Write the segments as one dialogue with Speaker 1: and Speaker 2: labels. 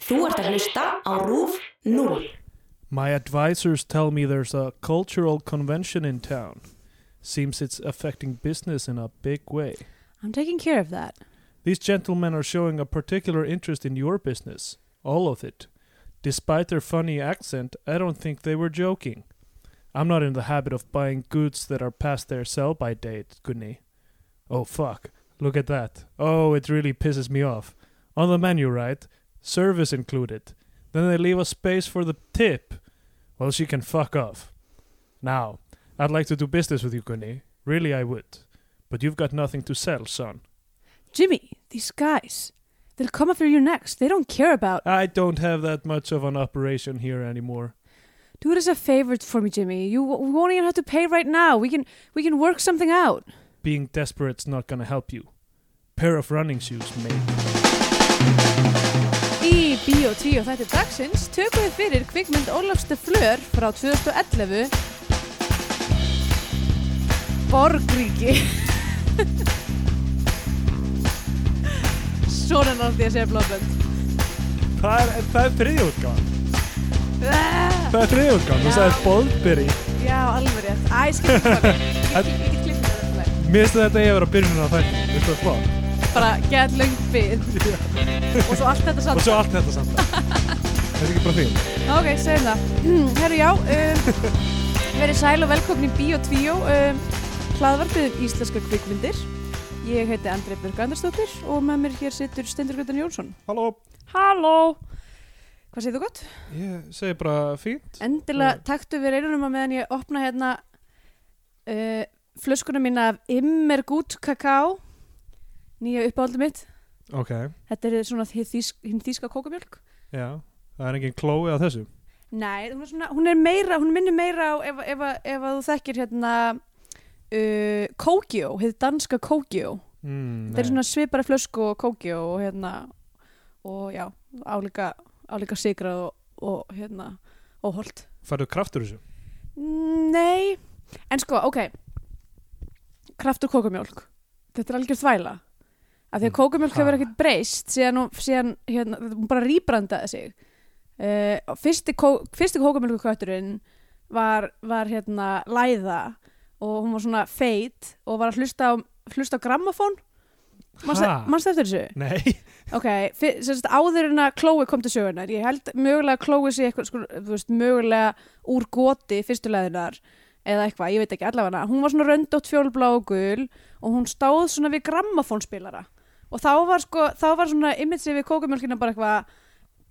Speaker 1: Þú ert að hlusta á RÚF 0.
Speaker 2: My advisors tell me there's a cultural convention in town. Seems it's affecting business in a big way.
Speaker 3: I'm taking care of that.
Speaker 2: These gentlemen are showing a particular interest in your business, all of it. Despite their funny accent, I don't think they were joking. I'm not in the habit of buying goods that are past their sell by date, Gunny. Oh fuck, look at that. Oh, it really pisses me off. On the menu, right? Service included. Then they leave a space for the tip. Well, she can fuck off. Now, I'd like to do business with you, Gunny. Really, I would. But you've got nothing to sell, son.
Speaker 3: Jimmy, these guys, they'll come after you next. They don't care about.
Speaker 2: I don't have that much of an operation here anymore.
Speaker 3: Do it as a favor for me, Jimmy. You w- won't even have to pay right now. We can we can work something out.
Speaker 2: Being desperate's not gonna help you. Pair of running shoes, mate.
Speaker 3: Í Bíó 10 þætti dagsins tökum við fyrir kvikmynd Ólafs de Fleur frá 2011 Borgríki Svona nátti ég að segja blóðbönd
Speaker 2: Það er, það er þriðjútgáð. Það er þriðjútgáð. Þú sagði boðbyrji.
Speaker 3: Ah, Já, alveg rétt Æ, skilur það Ég get- ég get klippið þetta lag.
Speaker 2: Mér finnst þetta ég að vera byrjun á þætti. Mér finnst það flott.
Speaker 3: Bara get löng bið Og svo allt þetta
Speaker 2: Og
Speaker 3: samt
Speaker 2: svo allt þetta samt. Þetta er ekki bara þín.
Speaker 3: Ok, segjum það. Hmm, Herru, já, um, verið sæl og velkomin í Bíó 2, um, hlaðvarpið um íslenska kvikmyndir. Ég heiti Andrei Björg Andarsdóttir og með mér hér situr Stendur Götan Jónsson.
Speaker 2: Halló.
Speaker 3: Halló! Hvað segir þú gott?
Speaker 2: Ég segi bara fínt.
Speaker 3: Endilega
Speaker 2: Já.
Speaker 3: taktu við reynunum að meðan ég opna hérna uh, flöskuna mína af Immergut kakao, nýja uppáhaldum mitt.
Speaker 2: Ok.
Speaker 3: Þetta er svona hið þýsk- hin þýska kókamjölk.
Speaker 2: Já. Það er engin klói að þessu.
Speaker 3: Nei, hún er, svona, hún er meira, hún minnir meira á ef, ef, ef, ef að þú þekkir hérna uh, Kókjó, hefði danska Kókjó.
Speaker 2: Mm,
Speaker 3: Það er
Speaker 2: nei.
Speaker 3: svona svipara flösku og Kókjó og hérna, og já, álíka, álíka sigrað og, og hérna, óholt.
Speaker 2: Færðu kraftur þessu?
Speaker 3: Nei, en sko, ok, kraftur kókamjólk, þetta er algjör þvæla. Af því að
Speaker 2: Mm.
Speaker 3: kókamjólk
Speaker 2: Ha.
Speaker 3: hefur ekkert breyst síðan, hún- síðan hérna, hún bara rýbrandaði sig. Uh, fyrsti, kó, fyrsti kókamjólkukötturinn var, var hérna læða og hún var svona feit og var að hlusta á, hlusta á grammafón.
Speaker 2: Ha?
Speaker 3: Manstu eftir þessu?
Speaker 2: Nei.
Speaker 3: Ok, fyr- sem sagt áður en að Chloe kom til sögunar, ég held mögulega að Chloe sé eitthvað, sko, þú veist, mögulega úr goti fyrstu leðinar eða eitthvað, ég veit ekki allavega hún var svona röndótt fjólblá og gul og hún stáð svona við grammafónspilara og þá var sko, þá var svona image við kókamjólkina bara eitthvað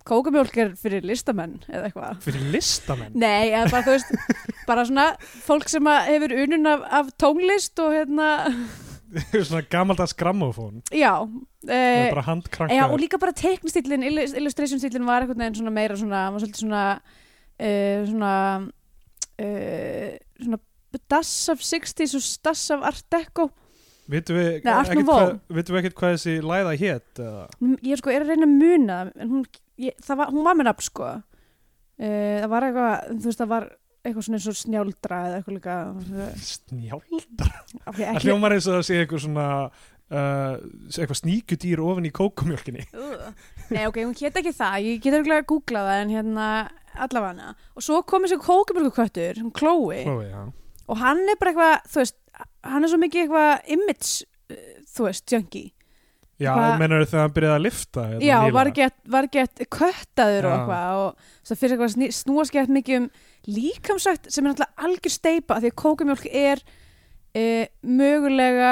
Speaker 3: kókamjólk er fyrir listamenn eða eitthvað
Speaker 2: Fyrir listamenn.
Speaker 3: Nei, eða bara þú veist, bara svona fólk sem að hefur unun af, af tónlist og hérna,
Speaker 2: svona gammaldags grammofón.
Speaker 3: já
Speaker 2: Það
Speaker 3: eh,
Speaker 2: er bara handkrankað.
Speaker 3: Já, og líka bara teiknstýlinn, illustrationsstýlinn var einhvern veginn svona meira svona, hann var svolítið svona, uh, svona, uh, svona dass af 60s og dass af Art Deco.
Speaker 2: Vitum við,
Speaker 3: Nei, Art
Speaker 2: ekkert
Speaker 3: Nouveau.
Speaker 2: hvað, vitum við ekkert hvað þessi læða hétt? eða?
Speaker 3: Mm, Ég sko er að reyna að muna, það, en hún, ég, það var, hún var með nafn sko. Uh, það var eitthvað, þú veist, það var eitthvað svona eins og snjáldra eða eitthvað líka.
Speaker 2: Snjáldra?
Speaker 3: Okay,
Speaker 2: Það
Speaker 3: ekki,
Speaker 2: hljómar eins og það sé eitthvað svona uh, eitthvað sníkudýr ofan í kókumjölkinni.
Speaker 3: Ugh. Nei, ok, hún hétt ekki það, ég get örgulega að googla það en hérna allavega hana. Og svo kom þessi kókumjölkuköttur, hún Chloe.
Speaker 2: Prófið, já.
Speaker 3: og hann er bara eitthvað, þú veist hann er svo mikið eitthvað image uh, þú veist, junkie
Speaker 2: Já,
Speaker 3: Hva-
Speaker 2: mennur þegar hann byrjaði að lifta? hérna,
Speaker 3: já,
Speaker 2: nýlega?
Speaker 3: var gett, var gett köttaður og
Speaker 2: Já.
Speaker 3: eitthvað og svo fyrir eitthvað sný- snúast gett mikið um líkamsagt sem er náttúrulega algjör steipa af því að kókumjólk er e, mögulega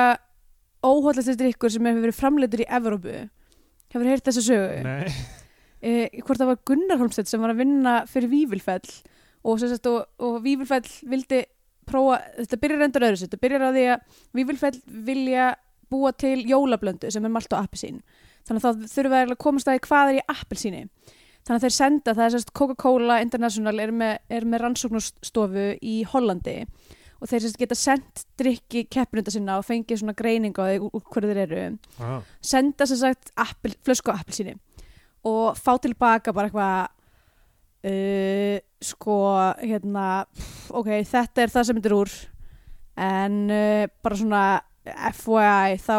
Speaker 3: óhóllasti drikkur sem hefur verið framleitur í Evrópu hefur heyrt þessa sögu
Speaker 2: Nei,
Speaker 3: eh, hvort það var Gunnar Holmstedt sem var að vinna fyrir Vífilfell og, sem sagt, og, og Vífilfell vildi prófa, þetta byrjar endur öðru sér, þetta byrjar á því að Vífilfell vilja búa til jólablöndu sem er malt og appelsín þannig að þá þurfum við eiginlega að komast að því hvað er í appelsíni þannig að þeir senda, það er sérst Coca-Cola International er með, er með rannsóknarstofu í Hollandi og þeir sérst geta sendt drikki keppinunda sinna og fengið svona greiningu á því úr- úr hverju þeir eru
Speaker 2: ah,
Speaker 3: senda sem sagt appil, flösku á appilsíni og fá tilbaka bara eitthvað uh, sko hérna pff, ok, þetta er það sem þetta er úr en uh, bara svona FYI þá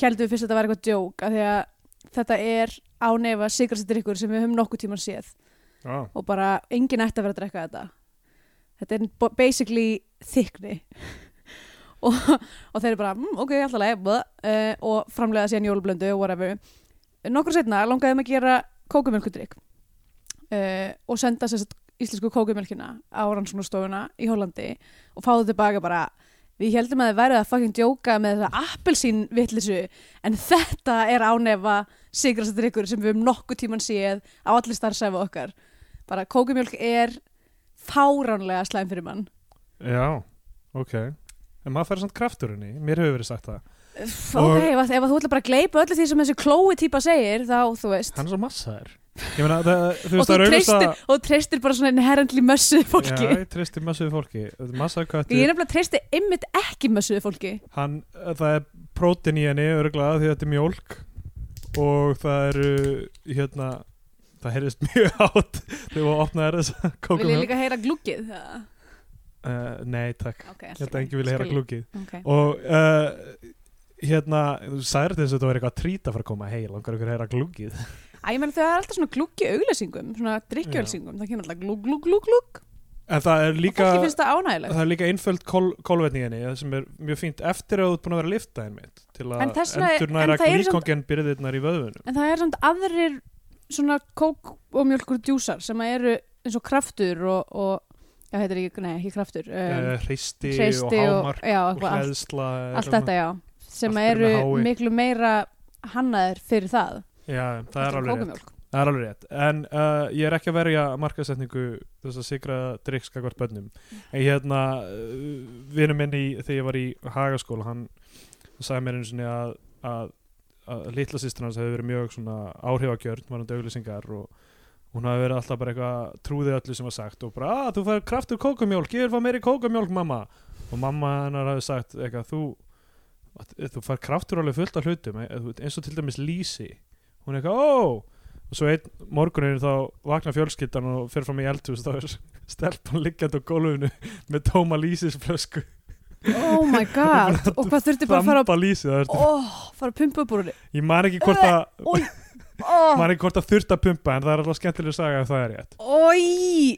Speaker 3: heldum við fyrst að þetta var eitthvað djók af því að þetta er ánefa sigrastdrykkur sem við höfum nokkuð tíman séð
Speaker 2: Já,
Speaker 3: og bara enginn ætti að vera að drekka þetta þetta er bo- basically þykni og, og þeir eru bara mm, ok, alltaf leið uh, og framlega síðan jólublöndu og whatever nokkur setna langaðum að gera kókumjölkudrykk uh, og senda sér íslensku kókumjölkina á rannsóknastofuna í Hollandi og fáðu tilbaka bara við heldum að þið værið að fucking djóka með þetta appelsín vittlisu en þetta er ánefa sigrastdrykkur sem við um nokkuð tíman séð á allir starfsæfa okkar bara kókumjólk er fáránlega slæm fyrir mann
Speaker 2: já, ok En maður fær samt krafturinni, mér hefur verið sagt það
Speaker 3: Uff,
Speaker 2: Og-
Speaker 3: ok, ef, að- ef að þú ætla bara að gleypa öllu því sem þessi klói típa segir þá, þú veist
Speaker 2: Hann er svo massaður Ég meina, það, þú
Speaker 3: og
Speaker 2: veist,
Speaker 3: þú,
Speaker 2: það er auðvist
Speaker 3: treystir,
Speaker 2: að
Speaker 3: og þú treystir bara svona inherently mössuð fólki
Speaker 2: Já, ég treysti massuðu fólki Massaðu
Speaker 3: ég
Speaker 2: köttur,
Speaker 3: er nefnilega treysti ymmit ekki mössuð fólki
Speaker 2: hann, það er prótin í henni örglega því að þetta er mjólk og það eru, hérna það heyrðist mjög átt þegar þú opnaðir þessa
Speaker 3: vil ég
Speaker 2: kókumjólk
Speaker 3: líka heyra glúkið það?
Speaker 2: uh, Nei, takk,
Speaker 3: okay,
Speaker 2: ég held að enginn vilja heyra glúkið
Speaker 3: okay.
Speaker 2: og uh, hérna, þú sagðir þetta eins og þetta var eitthvað að trýta fyrir að koma heil, langar ykkur að heyra glúkið
Speaker 3: Æ, ég menn þau er alltaf svona glúki auglesingum svona drikkjölsingum, það kemur alltaf glúk, glúk, glúk, glúk
Speaker 2: en það er
Speaker 3: og
Speaker 2: líka
Speaker 3: fólki finnst það ánægilegt
Speaker 2: það er líka einföld kol, kolvetni í henni það sem er mjög fínt eftir að þú ert búin að vera að lifta einmitt til að
Speaker 3: En þess vegna-
Speaker 2: endurnæra
Speaker 3: en það eru samt-
Speaker 2: glíkongen byrðirnar í vöðunum
Speaker 3: en það er samt aðrir svona kók og mjölkur djúsar sem eru eins og kraftur og, og já, heitir ekki, nei, ekki kraftur um,
Speaker 2: uh, hreisti, og
Speaker 3: hreisti og,
Speaker 2: hámark
Speaker 3: já,
Speaker 2: og,
Speaker 3: eitthvað allt,
Speaker 2: hleðsla
Speaker 3: allt þetta, já sem
Speaker 2: allt er
Speaker 3: eru
Speaker 2: með hái.
Speaker 3: miklu meira hannaðir fyrir það
Speaker 2: já, það er
Speaker 3: heldur en
Speaker 2: alveg rétt
Speaker 3: kókumjólk.
Speaker 2: Það er alveg rétt, en uh, ég er ekki að verja markasetningu þess að sigra drikkskakvart bönnum en hérna, uh, vinur minn í, þegar ég var í hagaskóla hann sagði mér einu sinni að, að, að litla sýstur hans hefði verið mjög svona áhrifagjörn, var hann döglesingar og hún hafi verið alltaf bara eitthvað trúðið öllu sem var sagt og bara, að þú fær kraftur kókumjólk, ég vil fá meiri kókumjólk mamma og mamma hennar hafi sagt eitthvað, þú þú fær kraftur alveg fullt af hlutum eins og til dæmis lísi hún er eitthvað, ó og svo einn morgunin þá vaknar fjölskyldan og fyrir fram í eldhús þá er stelpan liggjandi á gólfinu með tóma lísisflösku
Speaker 3: oh my god, og hvað þurfti bara að fara að
Speaker 2: þamba lísi það er-
Speaker 3: oh, fara að pumpa upp úr henni
Speaker 2: ég man ekki hvort
Speaker 3: Eh,
Speaker 2: að
Speaker 3: Oj. ah.
Speaker 2: man ekki hvort að þurft að pumpa en það er alltaf skemmtileg saga ef það er rétt
Speaker 3: oi,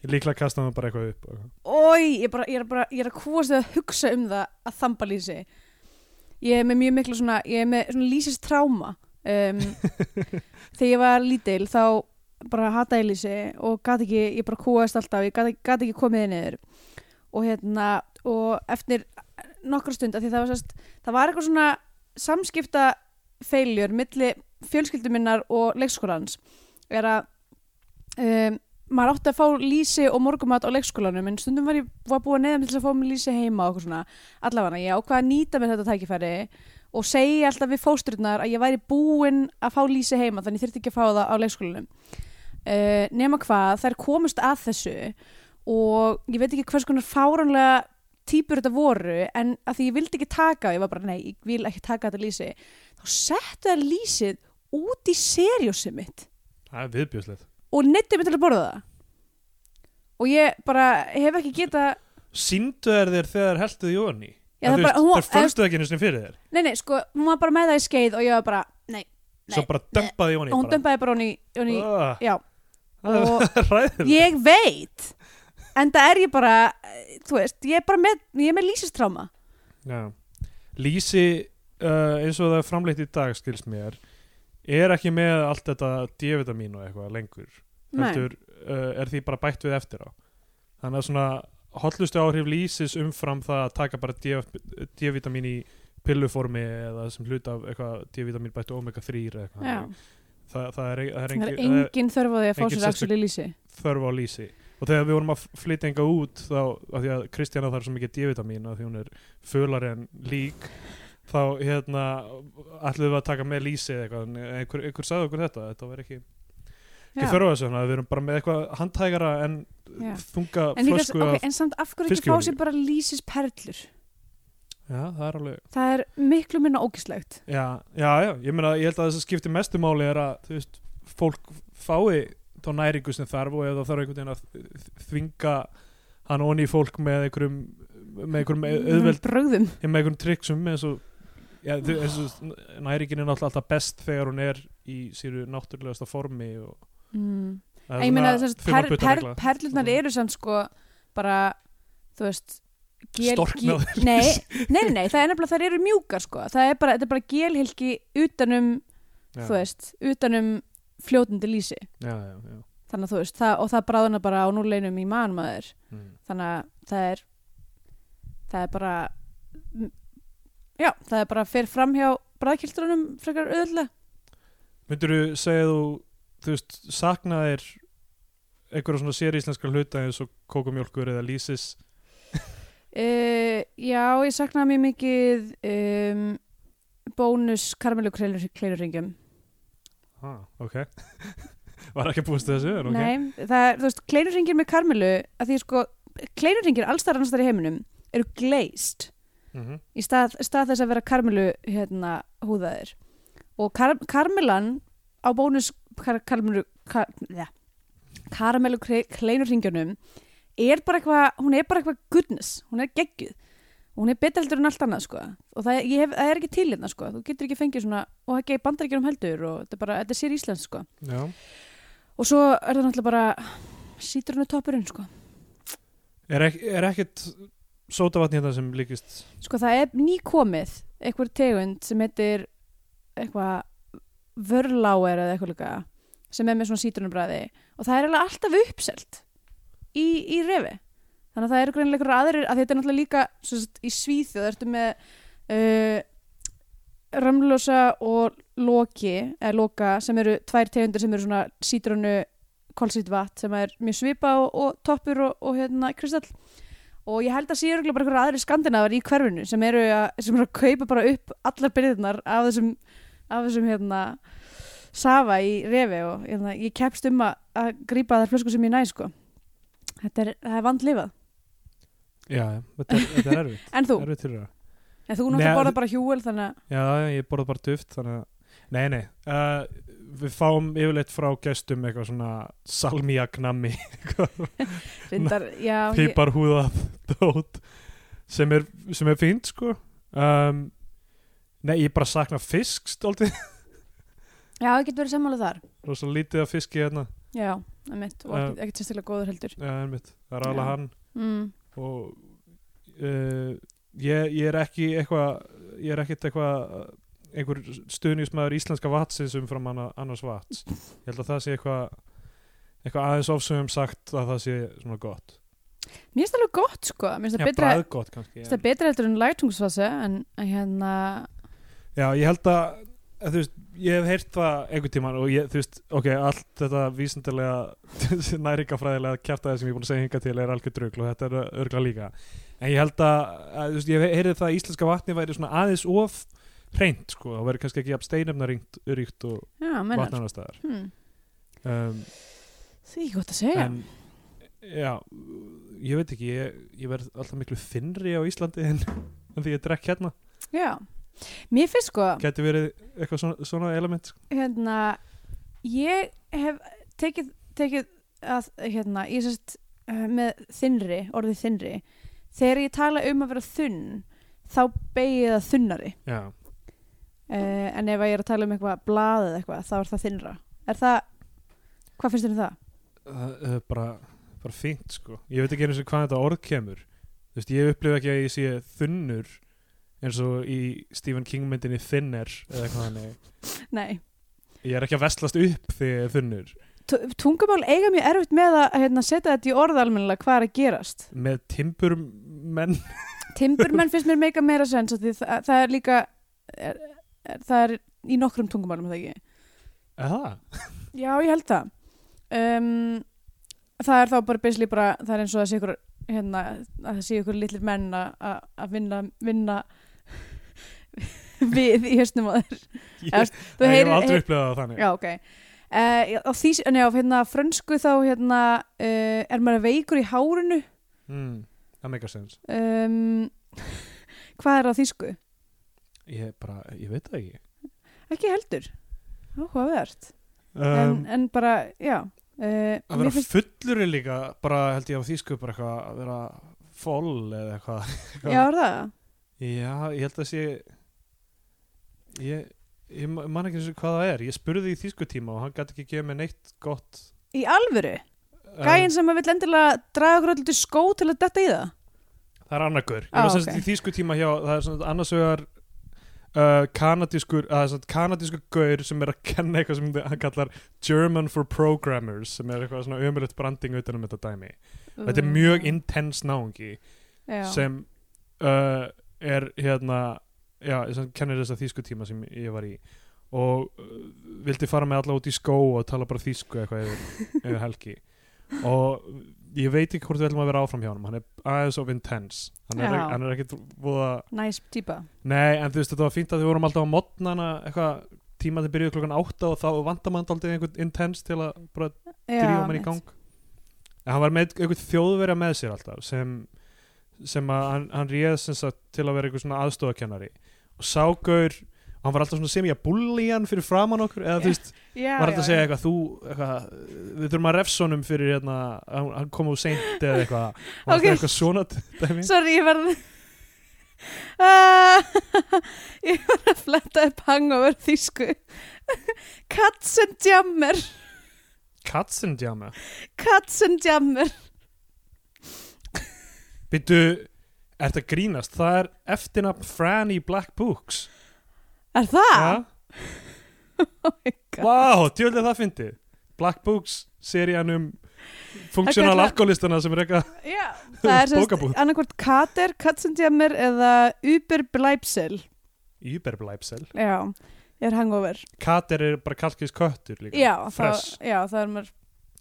Speaker 2: Ég líklega kasta hann bara eitthvað upp og-
Speaker 3: oi ég, bara, ég er bara, ég er að kúast við að hugsa um það að þamba lýsi ég er með mjög miklu svona ég er með svona lýsist tráma um, þegar ég var lítil þá bara hataði lýsi og gat ekki, ég bara kúast alltaf ég gat, gat ekki komið þið niður og hérna, og eftir nokkra stund, af því það var sérst það var eitthvað svona samskipta feiljur milli fjölskylduminnar og leikskólans er að um, maður átti að fá lýsi og morgumat á leikskólanum en stundum var ég var búið að neða mig til að fá mig lýsi heima og eitthvað svona allavega ég ákvað að nýta með þetta tækifæri og segja alltaf við fósturnar að ég væri búin að fá lýsi heima þannig ég þyrfti ekki að fá það á leikskólanum uh, nema hvað, þær komust að þessu og ég veit ekki hvers konar fáránlega týpur þetta voru en að því ég vildi ekki taka ég var bara nei, ég vil ekki taka þetta lýsi þá settu það lýsið út í seriósi mitt
Speaker 2: það er viðbjöðslegt
Speaker 3: og neytti mig til að borða það og ég bara hef ekki geta
Speaker 2: síndu er þér þegar helduð í onni
Speaker 3: Já,
Speaker 2: það
Speaker 3: það bara- hún-
Speaker 2: er fölstuð ekki einu sinni fyrir þér
Speaker 3: nei nei sko, hún var bara með það í skeið og ég var bara, nei,
Speaker 2: svo bara dömpaði í onni
Speaker 3: og hún dömpaði bara hún í, hún í
Speaker 2: Ah,
Speaker 3: já,
Speaker 2: það er ræðilegt
Speaker 3: ég veit en það er ég bara eh, þú veist, ég er bara með, ég er með lýsistráma
Speaker 2: Já. Lýsi uh, eins og það er framleitt í dag skilst mér er ekki með allt þetta D-vitamin og eitthvað lengur
Speaker 3: nei,
Speaker 2: heldur uh, er því bara bætt við eftir á þannig að svona hotlustu áhrif lýsis umfram það að taka bara D- D-vitamin í pilluformi eða sem hlut af eitthvað D-vitamin bættu omega 3 eða
Speaker 3: já,
Speaker 2: eitthvað Ah. það, það er, það er,
Speaker 3: það
Speaker 2: engi,
Speaker 3: er engin þörf á því að fá
Speaker 2: engin
Speaker 3: sér axil í lýsi
Speaker 2: þörf á lýsi og þegar við vorum að flytja enga út þá, af því að Kristjana þarf svo mikið D-vitamin af því hún er fölari en lík þá hérna ætlum við að taka með lýsi eða eitthvað en einhver, einhver sagði okkur þetta, þetta var ekki ekki
Speaker 3: Já.
Speaker 2: þörf á þessu, þannig að við erum bara með eitthvað handhægara en
Speaker 3: Já.
Speaker 2: þunga
Speaker 3: en, líka,
Speaker 2: flösku
Speaker 3: okay,
Speaker 2: af,
Speaker 3: en samt af hverju ekki fá
Speaker 2: fiskjólíu.
Speaker 3: sér bara lýsisperlur
Speaker 2: já, það er alveg
Speaker 3: það er miklu minna ógislegt
Speaker 2: já, já, já, ég meina, ég held að þess að skipti mestu máli er að, þú veist, fólk fái þá næringu sem þarf og ef það þarf einhvern veginn að þ- þvinga hann onni í fólk með einhverjum með einhverjum
Speaker 3: Mm.
Speaker 2: auðveld
Speaker 3: bröðum
Speaker 2: ég með einhverjum tryggsum eins og, ja, þú, eins og næringin er náttúrulega alltaf best þegar hún er í síru náttúrulegasta formi og
Speaker 3: mm.
Speaker 2: það er
Speaker 3: ég meina
Speaker 2: svona
Speaker 3: þess að per, per,
Speaker 2: þumalputtaregla.
Speaker 3: perlunar
Speaker 2: Mhm.
Speaker 3: eru samt sko bara, þú veist gel-
Speaker 2: Storknaðar.
Speaker 3: gel- nei, nei, nei, nei, það er nefnilega þær eru mjúkar sko, það er bara, þetta er bara gelhilki utanum,
Speaker 2: Já,
Speaker 3: þú veist utanum fljótandi lýsi
Speaker 2: já, já, já.
Speaker 3: þannig að þú veist, það, og það bráðuna bara á núleinum í mannmaður,
Speaker 2: Mm.
Speaker 3: þannig að það er það er bara já, það er bara fyrir fram hjá bræðkiltrunum frekar öðlega
Speaker 2: myndir þú segja þú þú veist, saknaðir einhverja svona séríslenskar hluta eins og kókumjólkur eða lísis
Speaker 3: Uh, já, ég saknaði mjög mikið um, bónus karmelu kleiluringjum
Speaker 2: ah, ok var ekki að búast við þessu en ok
Speaker 3: Nei, það er, þú veist, kleiluringjir með karmelu að því sko, kleiluringjir allstar annarstari heiminum eru glazed
Speaker 2: Mhm.
Speaker 3: í stað, stað þess að vera karmelu hérna húðaðir og kar, karmelan á bónus kar, karmelu kar, ja, karmelu kleinuringjunum er bara eitthvað, hún er bara eitthvað goodness, hún er geggjuð hún er betra heldur en allt annað sko og það, ég hef, það er ekki til hérna sko þú getur ekki fengið svona, og það geir bandar ekki um heldur og þetta er bara, þetta er sér Íslands sko
Speaker 2: já
Speaker 3: og svo er það náttúrulega bara sítrunu toppurinn sko
Speaker 2: er, ek, er ekkit sótavatn hérna sem líkist
Speaker 3: Sko það er nýkomið einhver tegund sem heitir eitthvað vörláer eða eitthvað líka sem er með svona sítrunubræði og það er alveg alltaf uppselt í, í refi þannig að það eru greinilega einhverjar aðrir að þetta er náttúrulega líka sem sagt, í Svíþjóð ertu með uh, römmlösa og loki eða loka sem eru tvær tegundir sem eru svona sítrunu kolsýtvatt sem er mjög svipa og, og toppur og, og hérna kristall og ég held að sé örgulega bara einhverja aðri skandinavar í hverfinu sem eru að, sem eru að kaupa bara upp allar byrðirnar af þessum, af þessum hérna, safa í refi og hérna, ég kepst um að, að grípa þær flösku sem ég næ sko. þetta er, það er vandlifað
Speaker 2: já, já, þetta er, þetta er erfitt
Speaker 3: en þú,
Speaker 2: erfitt fyrir það
Speaker 3: en þú
Speaker 2: Nei,
Speaker 3: náttúrulega borða
Speaker 2: að-
Speaker 3: bara hjúel þannig að
Speaker 2: Já, ég borða bara duft þannig að Nei, nei, uh, við fáum yfirleitt frá gestum eitthvað svona salmiaknami,
Speaker 3: reyndar, já, ég,
Speaker 2: piparhúðað dót sem er, sem er fínt sko um, Nei, ég bara sakna fisk stoltið,
Speaker 3: já, ég get verið sammála þar
Speaker 2: rosa lítið af fiski hérna
Speaker 3: já, einmitt, og ekkert, ekkert sérstaklega góður heldur
Speaker 2: Já, einmitt, það er alveg
Speaker 3: Já.
Speaker 2: hann
Speaker 3: mm.
Speaker 2: og uh, ég, ég er ekki eitthvað ég er ekkit eitthvað uh, einhver stuðnismæður íslenska vatsins umfram anna, annars vats ég held að það sé eitthvað eitthvað aðeins ofsögum sagt að það sé svona gott
Speaker 3: mér finnst það alveg gott sko, mér
Speaker 2: já,
Speaker 3: finnst það betra,
Speaker 2: bragðgott kannski
Speaker 3: mér
Speaker 2: en-
Speaker 3: finnst það betra heldur en lætungsfase en en hérna,
Speaker 2: já, ég held að, að þú veist, ég hef heyrt það einhvern tímann og ég, þú veist, ok, allt þetta vísindilega næringafræðilega kjartaði sem ég er búin að segja hinga til er algjör drugl og þetta er örgla líka en ég held að, að þú veist, ég hef heyrið það að íslenska vatni væri svona aðeins of hreint, sko, það væri kannski ekki jafn steinefna ríkt, ríkt og
Speaker 3: já, mennar
Speaker 2: vatnarnar staðar
Speaker 3: hmm.
Speaker 2: um,
Speaker 3: Því ekki gott að segja.
Speaker 2: en já, ég veit ekki ég, ég verð alltaf miklu þinnri á Íslandi en, en því ég drekk hérna
Speaker 3: Já. Mér finnst sko,
Speaker 2: gæti verið eitthvað svona, svona element sko.
Speaker 3: hérna, ég hef tekið, tekið að, hérna, ég sérst eh, með þinnri, orðið þinnri, þegar ég tala um að vera þunn, þá beigir það þunnari.
Speaker 2: já,
Speaker 3: Uh, en ef að ég er að tala um eitthvað blað eða eitthvað, þá er það þinnra. Er það, hvað finnst þér um það?
Speaker 2: það er bara, bara fínt sko ég veit ekki eins og hvað þetta orð kemur þú veist, ég upplifa ekki að ég sé þunnur eins og í Stephen King myndinni Thinner eða eitthvað hannig
Speaker 3: Nei.
Speaker 2: ég er ekki að vestlast upp þegar ég er þunnur
Speaker 3: T- Tungumál eiga mjög erfitt með að hérna, setja þetta í orð almennilega hvað er að gerast.
Speaker 2: með timburmenn
Speaker 3: Timburmenn finnst mér meika meira sens af því það, það er líka er, er, það er í nokkrum tungumálum er það ekki.
Speaker 2: eða,
Speaker 3: Já, ég held það. Um, það er þá bara basically bara, það er eins og það sé ykkur hérna, að það sé ykkur litlir menn að- að að vinna, vinna við í höstum á þér.
Speaker 2: ég,
Speaker 3: Eða,
Speaker 2: ég hef aldrei upplifað það þannig
Speaker 3: Já, ok. Uh, á því, nei, á hérna frönsku þá hérna uh, er maður veikur í hárinu
Speaker 2: mm, það meikar sens
Speaker 3: um, hvað er á þýsku?
Speaker 2: ég, bara, ég veit það ekki
Speaker 3: Ekki heldur. Áhugavert.
Speaker 2: um,
Speaker 3: en, en bara, já uh,
Speaker 2: að
Speaker 3: mér
Speaker 2: vera
Speaker 3: finnst,
Speaker 2: fullur er líka bara held ég á þýsku bara eitthvað að vera foll eða eitthvað
Speaker 3: já, er það
Speaker 2: Já, ég held að sé ég, ég ma- man ekki eins og hvað það er ég spurði í þýskutíma og hann gæti ekki gefið mér neitt gott
Speaker 3: Í alvöru?
Speaker 2: um,
Speaker 3: Gæinn sem að vill endilega draga okkur allir skó til að detta í það?
Speaker 2: það er annakur ég
Speaker 3: Ah,
Speaker 2: var semst
Speaker 3: ok.
Speaker 2: í þýskutíma hjá það er svona annars vegar uh, kanadískur að það er svona kanadískur gaur sem er að kenna eitthvað sem hann kallar German for Programmers sem er eitthvað svona ömulegt branding utan um þetta dæmi þetta
Speaker 3: Mm.
Speaker 2: er mjög intens náungi
Speaker 3: Já.
Speaker 2: sem uh, er hérna já, sem kennir þessa þýsku tíma sem ég var í og uh, vildi fara með alla út í skó og tala bara þýsku eitthvað yfir, yfir helgi og ég veit ekki hvort við ætlum að vera áfram hjá honum hann er aðeins of intense hann er,
Speaker 3: Já.
Speaker 2: hann er ekkit voða
Speaker 3: Næs típa.
Speaker 2: nei, en þú veist þetta var fínt að við vorum alltaf á modnana eitthvað tíma til byrjuði klokkan átta og þá vandar mann aldrei einhvern intense til að bara
Speaker 3: Já,
Speaker 2: drífa mann í
Speaker 3: mitt.
Speaker 2: gang en hann var með einhvern þjóðverja með sér alltaf sem, sem að hann, hann réð sem sagt, til að vera einhver svona aðstofakennari og ságaur hann var alltaf svona sem ég að búli hann fyrir framann okkur eða þú veist,
Speaker 3: Já,
Speaker 2: var alltaf
Speaker 3: já,
Speaker 2: að segja
Speaker 3: já.
Speaker 2: eitthvað þú, eitthvað, við þurfum að refsonum fyrir hérna, hann, hann kom úr seint eða eitthvað, hann var
Speaker 3: Ok.
Speaker 2: alltaf eitthvað svona dæmi.
Speaker 3: Sorry, ég verð... Uh, ég var að fletta upp hangover þýsku Cats and Jammer
Speaker 2: Katzenjama
Speaker 3: Cats and Jammer
Speaker 2: Býttu, ert að grínast það er eftirnafn Franny Black Books
Speaker 3: Er það?
Speaker 2: Já.
Speaker 3: Oh God.
Speaker 2: Vá, djöðlega það fyndi Black Books serían um funksjónal
Speaker 3: Þetta er-
Speaker 2: alkoholistana sem er eitthvað
Speaker 3: Já, það er
Speaker 2: Bókabúð.
Speaker 3: sérst annarkvort Kater, Katzendjammer eða Uber Bleipsel
Speaker 2: Überbleibsel
Speaker 3: Já, er hangover
Speaker 2: Kater er bara kalkis köttur líka
Speaker 3: Já, það,
Speaker 2: Fresh.
Speaker 3: já, það er maður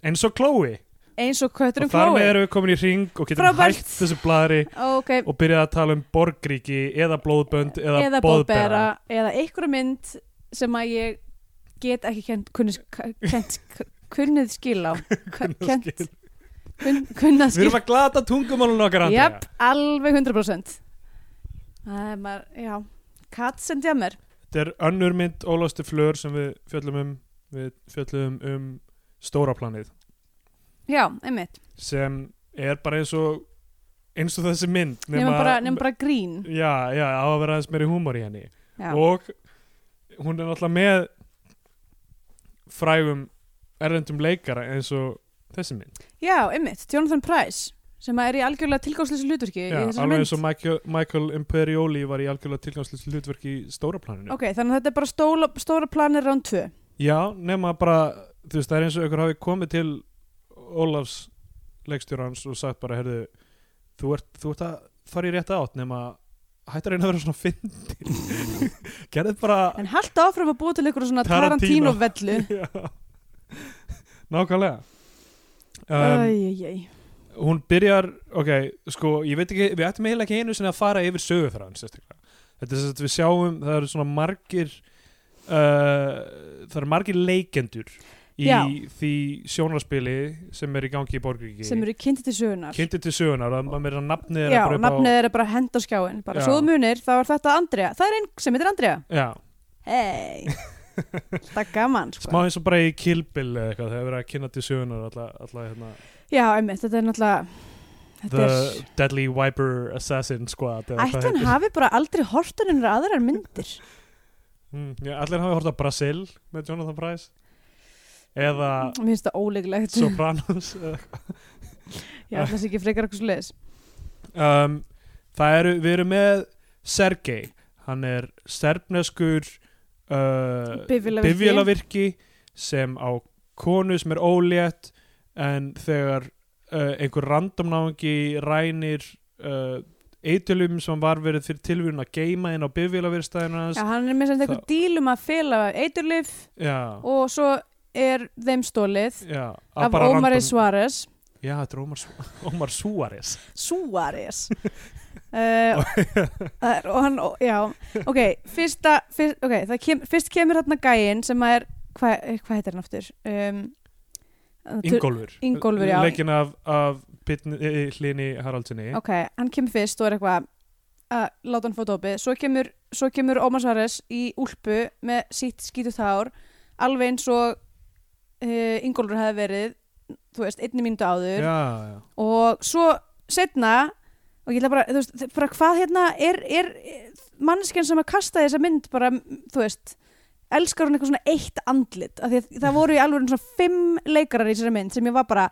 Speaker 2: eins og Chloe
Speaker 3: eins og kötturinn
Speaker 2: og þar með
Speaker 3: um Chloe
Speaker 2: erum við komin í ring og getum
Speaker 3: Frábært.
Speaker 2: hætt þessu blæðri
Speaker 3: Ok,
Speaker 2: og byrjað að tala um borgríki eða blóðbönd eða,
Speaker 3: eða
Speaker 2: boðbera
Speaker 3: bóðbera eða einhverja mynd sem að ég get ekki kent, kunnis, kent, kunnið skil á K- kent,
Speaker 2: skil.
Speaker 3: kun, kunnað
Speaker 2: Við
Speaker 3: skil
Speaker 2: erum að glata tungumálun okkar Andrea.
Speaker 3: Jöp, alveg 100% Það er maður, já Katzendjammer
Speaker 2: Þetta er önnur mynd Ólastu Flör sem við fjöllum um við fjöllum um stóraplanið
Speaker 3: Já, einmitt
Speaker 2: sem er bara eins og eins og þessi mynd
Speaker 3: Nefnum bara, nema bara grín
Speaker 2: já, já, á að vera aðeins meiri húmor í henni
Speaker 3: Já,
Speaker 2: og hún er náttúrulega með frægum erlendum leikara eins og þessi mynd
Speaker 3: Já, einmitt, Jonathan Price sem að er í algjörlega tilgangsleysu hlutverki í
Speaker 2: já,
Speaker 3: þessari
Speaker 2: alveg
Speaker 3: mynd.
Speaker 2: eins og Michael, Michael Imperioli var í algjörlega tilgangslis hlutverk í stóra planinu
Speaker 3: Ok, þannig að þetta er bara stóla, stóra planir rán 2.
Speaker 2: já, nema bara, þú veist, það er eins og ykkur hafi komið til Ólafs leikstjórans og sagt bara, heyrðu þú ert, þú ert að fara í rétt átt nema hættar einu að vera svona fyndi gerðið bara
Speaker 3: En halda áfram að búa til einhverju svona
Speaker 2: Tarantino.
Speaker 3: Tarantino-vellu.
Speaker 2: Já. Nákvæmlega um,
Speaker 3: Æjæjæj.
Speaker 2: Hún byrjar Ok, sko, ég veit ekki Við ættum eiginlega ekki einu sinni að fara yfir sögu frá hann sérstaklega. Þetta er þess að við sjáum Það eru svona margir uh, Það eru margir leikendur Í
Speaker 3: Já.
Speaker 2: því sjónarspili Sem er í gangi í Borgríki
Speaker 3: sem eru kynnti til sögunar.
Speaker 2: Kynntir til sögunar að maður meira nafnið er
Speaker 3: Já,
Speaker 2: bara upp á-
Speaker 3: nafnið er bara hend á skjáin. Bara
Speaker 2: Já.
Speaker 3: svo þú munir, þá er þetta Andrea. Það er einn sem heitir Andrea.
Speaker 2: Já,
Speaker 3: Hei. Þetta er gaman, sko.
Speaker 2: smá eins og bara í kilbil eða eitthvað, það er verið að kynna til sögunar alla, alla hérna,
Speaker 3: Já, einmitt, þetta er náttúrulega... Þetta
Speaker 2: The Deadly Viper Assassin Squad
Speaker 3: er... Ætti hann hafi bara aldrei hortuninn aðrar myndir.
Speaker 2: Mm, já, allir hafa hort á Brasil með Jonathan Price eða
Speaker 3: Mér finnst það óleiklegt.
Speaker 2: Sopranos eh, eða
Speaker 3: Já, það sé ekki frekar eitthvað svo leiðis.
Speaker 2: eitthvað. um, Það eru, við erum með Sergei, hann er serbneskur uh,
Speaker 3: Bifvélavirki.
Speaker 2: bifvélavirki sem á konu sem er ólétt en þegar uh, einhver randomnáðingi rænir uh, eitilum sem var verið fyrir tilvíðun að geima inn á bifvélavirstæðinu hans
Speaker 3: Já, hann er með sem þetta
Speaker 2: það-
Speaker 3: eitthvað díl um að fela eiturlif
Speaker 2: Já,
Speaker 3: og svo er þeim stólið
Speaker 2: já að
Speaker 3: af
Speaker 2: bara
Speaker 3: Ómari
Speaker 2: random-
Speaker 3: Suárez
Speaker 2: Já, þetta er Ómar, Sú- Ómar Suárez
Speaker 3: Suárez uh, það er- og hann, já ok, fyrsta, fyrst, okay það kem, fyrst kemur þarna gæinn sem að er hvað hva heitir hann aftur um,
Speaker 2: Ingólfur
Speaker 3: Ingólfur, já.
Speaker 2: Leikinn af, af Pitni, eh, Hlini Haraldsinni
Speaker 3: ok, hann kemur fyrst og er eitthvað að láta hann fá dópið svo kemur, svo kemur Ómar Suárez í úlpu með sitt skýtu þár alveg eins og uh, Ingólfur hefði verið þú veist, einni mínútu áður
Speaker 2: Já, já
Speaker 3: og svo setna og ég ætla bara, þú veist, bara hvað hérna er, er, er manneskjan sem að kasta þessa mynd bara, þú veist elskar hún eitthvað svona eitt andlit af því að það voru í alveg svona fimm leikarar í þessari mynd sem ég var bara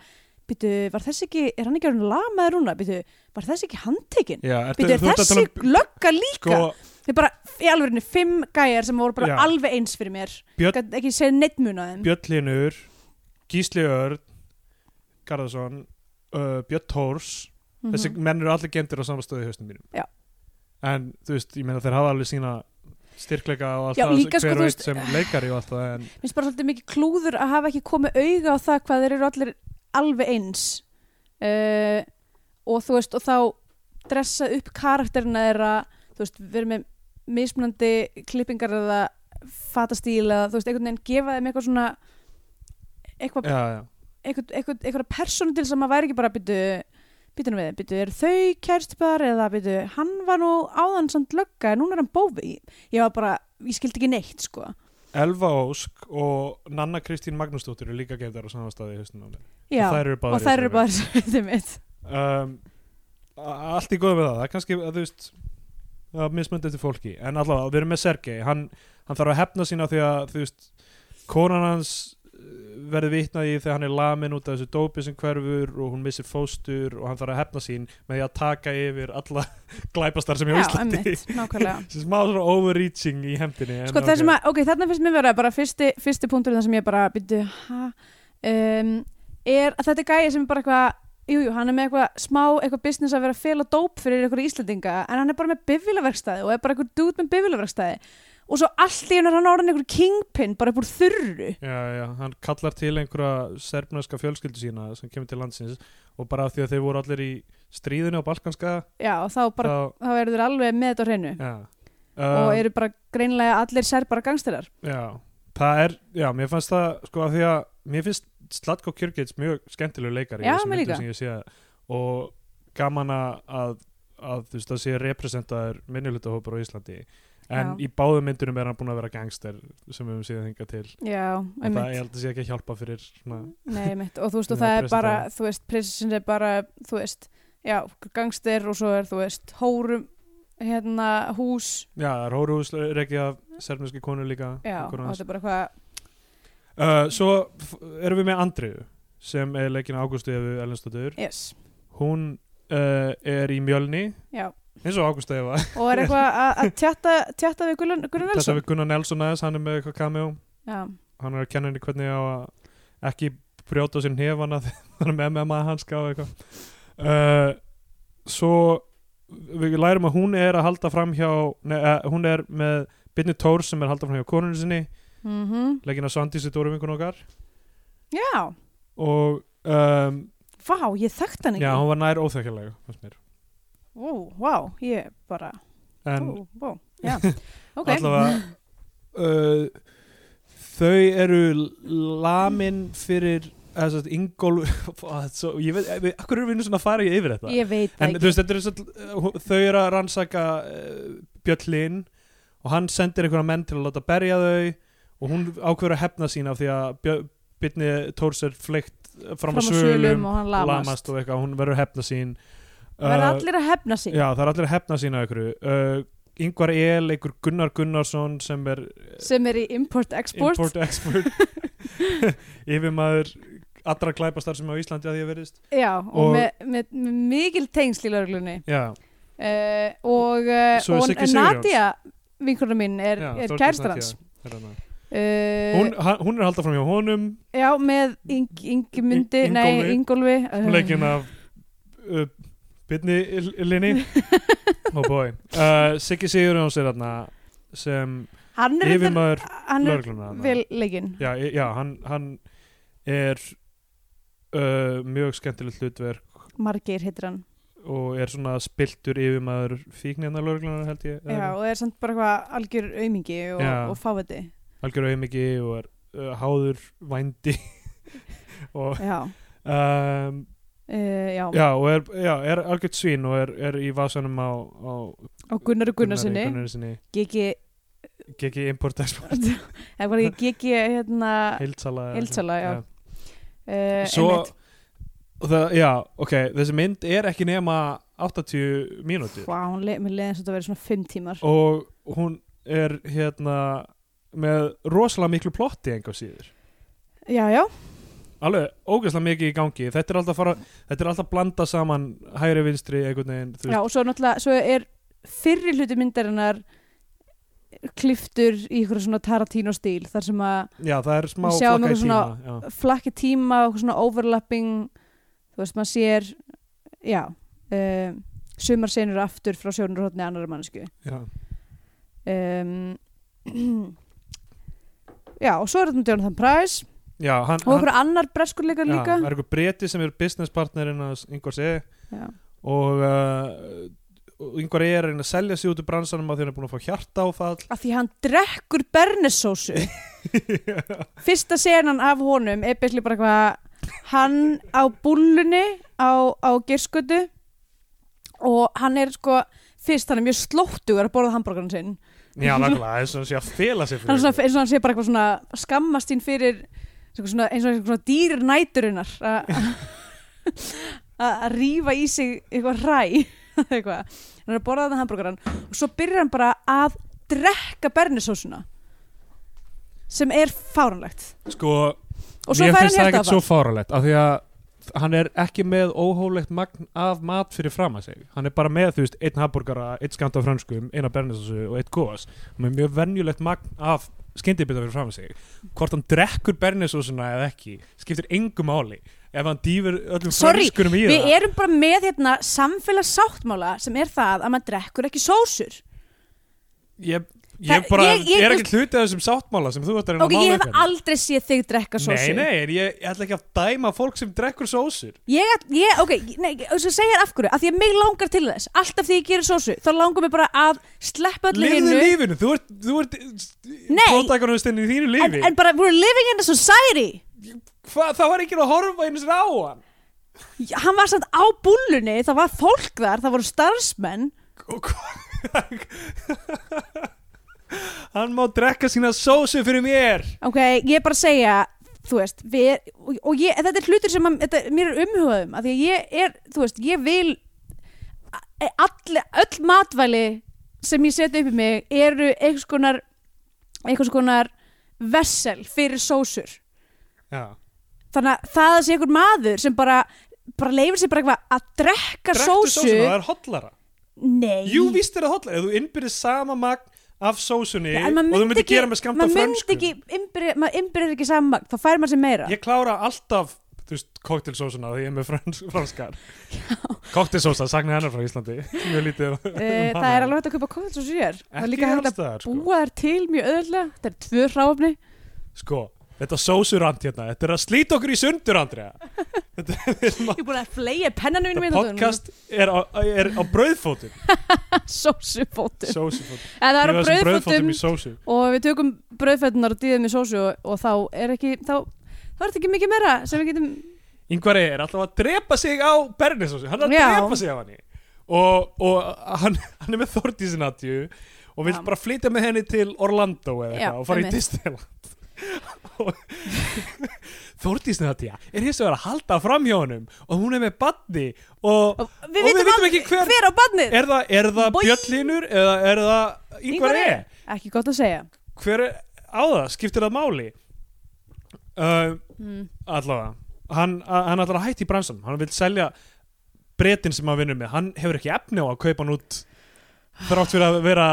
Speaker 3: býtu, var þess ekki, er hann ekki orðin lamaður núna býtu, var þess ekki handtekinn
Speaker 2: Já, ertu,
Speaker 3: býtu, er
Speaker 2: þú ert að tala
Speaker 3: þessi
Speaker 2: um-
Speaker 3: lögga líka
Speaker 2: Sko,
Speaker 3: þið bara, í alveg fimm gæjar sem voru bara
Speaker 2: Já.
Speaker 3: alveg eins fyrir mér
Speaker 2: Björn-
Speaker 3: Gat ekki segja neitt mun á þeim
Speaker 2: Björn Linur, Gísli Örn, Garðarsson, uh, Björn Tórs,
Speaker 3: Mhm.
Speaker 2: þessi menn eru allir gendir á samastöðu í hausnum mínum.
Speaker 3: Já.
Speaker 2: En þú veist, ég meina þeir hafa alveg sína styrkleika og allt
Speaker 3: Já,
Speaker 2: það
Speaker 3: líka, sko,
Speaker 2: hver
Speaker 3: þú
Speaker 2: og
Speaker 3: veist-
Speaker 2: eitt sem leikari og allt það en
Speaker 3: Mér finnst bara svolítið mikið klúður að hafa ekki komið auga á það hvað þeir eru allir alveg eins uh, og þú veist og þá dressa upp karakterina þeirra þú veist, verið með mismunandi klippingar eða fatastíl eða þú veist, einhvern veginn gefa þeim eitthvað svona eitthvað,
Speaker 2: já, já.
Speaker 3: eitthvað, eitthvað, eitthvað persónu til sem að væri ekki bara byttu byttu nú við, byttu, eru þau kærstupar eða byttu, hann var nú áðan samt lögga, en núna er hann bófi ég var bara, ég skildi ekki neitt sko
Speaker 2: Elva Ósk og Nanna Kristín Magnúsdóttir eru líka gendir á samastöðu í hausnum á mér.
Speaker 3: Já.
Speaker 2: Og þær eru báðar
Speaker 3: og
Speaker 2: í
Speaker 3: þær eru
Speaker 2: þessari
Speaker 3: bara svitið mitt
Speaker 2: um, a- allt í góðum með það það er kannski að þú veist að mismöndi eftir fólki, en allavega við erum með Sergei, hann, hann þarf að hefna sína því að þú veist, konan hans eh, verður vitnað í þegar hann er lamin út af þessu dópi sem hverfur og hún missir fóstur og hann þarf að hefna sín með því að taka yfir alla glæpastar sem ég á Íslandi
Speaker 3: einmitt, nákvæmlega
Speaker 2: sem smá svona overreaching í hefndinni en
Speaker 3: sko það sem að, ok, þarna finnst mér vera bara fyrsti, fyrsti punktur þar sem ég bara byrju, ha um, er að þetta er gæja sem er bara eitthvað Jú, jú, hann er með eitthvað smá, eitthvað business að vera að fela dóp fyrir eitthvað íslendinga en hann er bara með bifilaverkstæði og er bara eitthvað dút með bifilaverkstæði og svo allt í einu er hann orðin eitthvað kingpin bara upp úr þurru
Speaker 2: Já, já, hann kallar til einhverja serbneska fjölskyldu sína sem kemur til landsins og bara af því að þeir voru allir í stríðinu á Balkanska
Speaker 3: Já, og þá, bara,
Speaker 2: þá,
Speaker 3: þá eru þeir alveg með þetta á hreinu
Speaker 2: Já.
Speaker 3: og
Speaker 2: Um,
Speaker 3: eru bara greinlega allir serbara gangstæðar
Speaker 2: já, það er, já, mér fannst það sko að því að mér finnst Slatko Kjörgits mjög skemmtilegur leikari í
Speaker 3: Já,
Speaker 2: þessum
Speaker 3: mér
Speaker 2: myndum
Speaker 3: líka.
Speaker 2: sem ég sé og gaman að, að, að þú veist að sé representaður minnilutahópur á Íslandi en
Speaker 3: Já.
Speaker 2: í báðum myndunum er hann búin að vera gangster sem við höfum síðan hingað til
Speaker 3: Já,
Speaker 2: og
Speaker 3: einmitt
Speaker 2: það ég held að sé ekki að hjálpa fyrir svona,
Speaker 3: Nei, mitt, og þú veist, og
Speaker 2: Nei,
Speaker 3: það er
Speaker 2: pressan
Speaker 3: bara,
Speaker 2: það.
Speaker 3: þú veist, prinsessin er bara, þú veist, já, gangster og svo er, þú veist, hórum, hérna, hús,
Speaker 2: já, Rórús reikið af serbneski konu líka
Speaker 3: já, og
Speaker 2: vinkonu hans.
Speaker 3: þetta er bara eitthvað,
Speaker 2: uh, Svo f- erum við með Andriðu sem er leikin Ágústu Efu Ellensdóttur
Speaker 3: yes,
Speaker 2: hún uh, er í Mjölni
Speaker 3: já,
Speaker 2: eins og Ágústa Eva
Speaker 3: og er eitthvað að- að tjatta, tjatta við Gunnar Gunnar
Speaker 2: Þetta
Speaker 3: Nelson.
Speaker 2: við Gunnar Nelson aðeins, hann er með eitthvað cameo
Speaker 3: Já,
Speaker 2: hann er að kenna henni hvernig á að ekki brjóta á sinn hefana þegar hann er með MMA hanska og eitthvað uh, Svo við lærum að hún er að halda fram hjá nei, uh, hún er með Byrni Tór sem er að halda fram hjá konunni sinni
Speaker 3: mhm,
Speaker 2: leggina Svandísi Dóru vinkun okkar
Speaker 3: já,
Speaker 2: og um,
Speaker 3: vá, ég þekkt hann
Speaker 2: já,
Speaker 3: ekki,
Speaker 2: hún var nær óþekkilega fannst mér.
Speaker 3: vó, vá, ég bara,
Speaker 2: en
Speaker 3: vó, vó, já, ok,
Speaker 2: allavega uh, þau eru lamin fyrir þess að Ingól svo, ég veit, við, akkur erum við nú svona að fara í yfir þetta
Speaker 3: ég veit það
Speaker 2: en
Speaker 3: ekki.
Speaker 2: þú veist, þetta er svo, uh, þau eru að rannsaka uh, Bjöllin og hann sendir einhverja menn til að láta berja þau og hún ákveður að hefna sín af því að Björni Tórs er fleikt fram
Speaker 3: fram
Speaker 2: að
Speaker 3: á sölum
Speaker 2: svölum
Speaker 3: og hann lamast.
Speaker 2: lamast og eitthvað, hún verður að hefna sín
Speaker 3: Það er
Speaker 2: Uh,
Speaker 3: allir að hefna sín,
Speaker 2: Já, það er allir að hefna sína ykkur uh, Yngvar El, ykkur Gunnar Gunnarsson sem er eh,
Speaker 3: sem er í import-export.
Speaker 2: import-export yfirmaður allra glæpastar sem á Íslandi að því að verðist
Speaker 3: Já, og,
Speaker 2: Og-
Speaker 3: með, með, með mikil tengsl í lauruglunni
Speaker 2: Já,
Speaker 3: uh, og, uh,
Speaker 2: Svo er
Speaker 3: og
Speaker 2: Siggi Sigurjóns.
Speaker 3: Nadia vinkurinn mín er,
Speaker 2: já
Speaker 3: er
Speaker 2: Þórdís
Speaker 3: kærastan
Speaker 2: Nadia
Speaker 3: hans
Speaker 2: er þarna. Hún,
Speaker 3: uh,
Speaker 2: ha- hún er að halda fram hjá honum
Speaker 3: Já, með Ing- Ingimundi
Speaker 2: Ing-
Speaker 3: Nei, Ingólfi
Speaker 2: hún leikin
Speaker 3: uh,
Speaker 2: af uh, Byrni Linni oh boy uh, Siggi Sigurjóns er þarna sem
Speaker 3: Hann er, reyndar-
Speaker 2: yfirmaður
Speaker 3: hann er
Speaker 2: lögregluna þarna.
Speaker 3: vel leikinn
Speaker 2: Já, e- já hann, hann er uh, mjög skemmtilegt hlutverk
Speaker 3: Margeir heitir hann
Speaker 2: og er svona spiltur yfir maður fíknirna lögreglunar held ég
Speaker 3: Já, og er samt bara eitthvað algjör aumingi og,
Speaker 2: Já.
Speaker 3: og fáviti
Speaker 2: algjör auðmiki og er uh, háður vændi og
Speaker 3: Já,
Speaker 2: um,
Speaker 3: uh, já.
Speaker 2: já, og er, já, er algjört svín og er, er í vasanum á, á
Speaker 3: og Gunnar og Gunnarsinni
Speaker 2: Gunnarsinni
Speaker 3: Gigi,
Speaker 2: Gekki import export
Speaker 3: eða var ekki Gigi hérna
Speaker 2: heilsala eða
Speaker 3: Heildsala, já.
Speaker 2: eitthvað.
Speaker 3: uh,
Speaker 2: Svo og það, já, ok, þessi mynd er ekki nema 80 mínútur
Speaker 3: Vá, hún leið, mér leiði eins og þetta verið svona fimm tímar
Speaker 2: og hún er hérna með rosalega miklu plotti enga síður
Speaker 3: já, já,
Speaker 2: alveg ógeðslega mikið í gangi þetta er alltaf að fara, þetta er alltaf að blanda saman hægri vinstri einhvern veginn þú
Speaker 3: já
Speaker 2: veist.
Speaker 3: og svo náttúrulega svo er fyrri hluti myndarinnar kliftur í ykkur svona Tarantino stíl þar sem að
Speaker 2: já, það er smá
Speaker 3: Við sjáum
Speaker 2: flakka í
Speaker 3: eitthvað
Speaker 2: tíma
Speaker 3: svona-
Speaker 2: já.
Speaker 3: flakki tíma og svona overlapping þú veist, maður sér já, um, sumar senur aftur frá sjónurhóttni annar mannsku
Speaker 2: Já.
Speaker 3: um, já, og svo er þetta með Jonathan Price
Speaker 2: Já, hann,
Speaker 3: og okkur annar breskur leikar
Speaker 2: já,
Speaker 3: líka
Speaker 2: það er einhver breti sem er business partnerinn að einhvers eða
Speaker 3: já,
Speaker 2: og uh, yngvar er að reyna að selja sig út úr bransanum að því hann er búin að fá hjartáfall
Speaker 3: af því hann drekkur bernessósu fyrsta senan af honum er byrli bara hvað hann á búllunni á, á gerskötu og hann er sko fyrst hann er mjög slóttugur að borða hambúrgarinn sinn
Speaker 2: já, nákvæmlega, það er svona sé að fela sig
Speaker 3: hann
Speaker 2: fyrir
Speaker 3: er svona, eins og hann sé bara eitthvað svona að skammast þín fyrir eitthvað svona, eins og eitthvað svona dýr næturinnar að að rífa í sig eitthvað ræ eitthvað. hann er að borða þannig hambúrgaran og svo byrjar hann bara að drekka bernisósuna sem er fáranlegt
Speaker 2: sko,
Speaker 3: og svo
Speaker 2: mér finnst
Speaker 3: fær hann hérna
Speaker 2: það
Speaker 3: hérta
Speaker 2: ekkert svo fáralegt af því að hann er ekki með óhólegt magn af mat fyrir fram að sig hann er bara með, þú veist, einn hambúrgara, einn skamt af frönskum eina bernisósu og einn kóas hann er mjög venjulegt magn af skyndibita fyrir fram að sig hvort hann drekkur bernisósuna eða ekki, skiptir engu máli ef hann dýfur öllum
Speaker 3: Sorry,
Speaker 2: frönskunum í það
Speaker 3: við erum bara með hérna samfélagssáttmála sem er það að maður drekkur ekki sósur
Speaker 2: Ég,
Speaker 3: Það-
Speaker 2: ég bara
Speaker 3: ég- ég-
Speaker 2: er ekki hlutið af þessum sáttmála sem þú ætti að reyna
Speaker 3: ok, ég hef
Speaker 2: upp hérna.
Speaker 3: aldrei séð þig drekka sósur
Speaker 2: Nei, nei, en ég, ég ætla ekki að dæma fólk sem drekkur sósur
Speaker 3: Ég, ég ok, nei, og svo segja þér af hverju, af því að mig langar til þess, alltaf því ég gerir sósu, þá langar mig bara að sleppa öllu
Speaker 2: Lifðu
Speaker 3: hinnu,
Speaker 2: lífinu, þú ert, þú ert
Speaker 3: Nei.
Speaker 2: Prótakonustinn í þínu
Speaker 3: en,
Speaker 2: lífi
Speaker 3: en bara we're living in a society,
Speaker 2: Hva, Það var ekki að horfa einu sinni á hann
Speaker 3: hann var samt á búllunni, það var fólk þar, það voru starfsmenn,
Speaker 2: Og hvað Hann má drekka sína sósu fyrir mér
Speaker 3: ok, ég er bara að segja, þú veist, við, og, og ég, þetta er hlutur sem að, þetta, mér er umhugaðum, af því að ég er, þú veist, ég vil, a- all, öll matvæli sem ég setja upp í mig eru einhvers konar, einhvers konar vessel fyrir sósur.
Speaker 2: Já,
Speaker 3: þannig að það að sé einhver maður sem bara, bara leifir sér bara eitthvað að drekka
Speaker 2: drektu
Speaker 3: sósu
Speaker 2: sósuna, það er hotlara
Speaker 3: Nei,
Speaker 2: Jú, víst er það hotlara, ef þú innbyrðir sama magn af sósunni
Speaker 3: En
Speaker 2: og
Speaker 3: maður
Speaker 2: þú
Speaker 3: myndi
Speaker 2: myndir
Speaker 3: ekki-
Speaker 2: gera með skamta
Speaker 3: Maður myndi
Speaker 2: frönskum
Speaker 3: ekki, innbyrði- maður innbyrðir ekki saman þá fær maður sér meira
Speaker 2: Ég klára alltaf, þú veist, koktelsósuna því ég er með frans, franskar Koktelsósa, sagna hennar frá Íslandi Mjög lítið um
Speaker 3: Uh,
Speaker 2: hana.
Speaker 3: það er alveg hægt að kaupa kóðsósu sér Það er
Speaker 2: Ekki
Speaker 3: líka hægt að
Speaker 2: allstaðar, sko.
Speaker 3: búa þær til mjög öðlega Þetta er tvö hráfni
Speaker 2: Sko, þetta sósurant hérna Þetta er að slíta okkur í sundur, Andrea Þetta er
Speaker 3: Ég er búin að fleia pennanum
Speaker 2: Þetta
Speaker 3: mínum
Speaker 2: podcast er á, er á brauðfótum
Speaker 3: Sósufótum
Speaker 2: Sósufótum
Speaker 3: Það er á
Speaker 2: Ég var sem
Speaker 3: brauðfótum
Speaker 2: í sósu
Speaker 3: Og við tökum brauðfötunar og dýðum í sósu og, og þá er ekki þá, þá er þetta ekki mikið meira sem við getum
Speaker 2: Yngvar er alltaf að drepa sig á bernisósu Hann er að
Speaker 3: Já.
Speaker 2: drepa sig á hann Og, og hann, hann er með Þordísinatju Og vill
Speaker 3: Já.
Speaker 2: bara flytja með henni til Orlando eða
Speaker 3: Já,
Speaker 2: eitthvað Og fara í
Speaker 3: einmitt.
Speaker 2: Disneyland Þordísinatja er hins vegar að halda fram hjá honum Og hún er með badni Og,
Speaker 3: Og
Speaker 2: og
Speaker 3: við vitum
Speaker 2: ekki hver
Speaker 3: hver á badnið
Speaker 2: Er það, er það
Speaker 3: Boing.
Speaker 2: bjöllinur eða er það
Speaker 3: Ingvar
Speaker 2: yngvar er?
Speaker 3: Ekki gott að segja
Speaker 2: hver er á það, skiptir það máli uh,
Speaker 3: Hmm.
Speaker 2: allavega hann, a- hann ætlar að hætti í bransan hann vil selja bretin sem hann vinnur með hann hefur ekki efni á að kaupa hann út þrátt fyrir að vera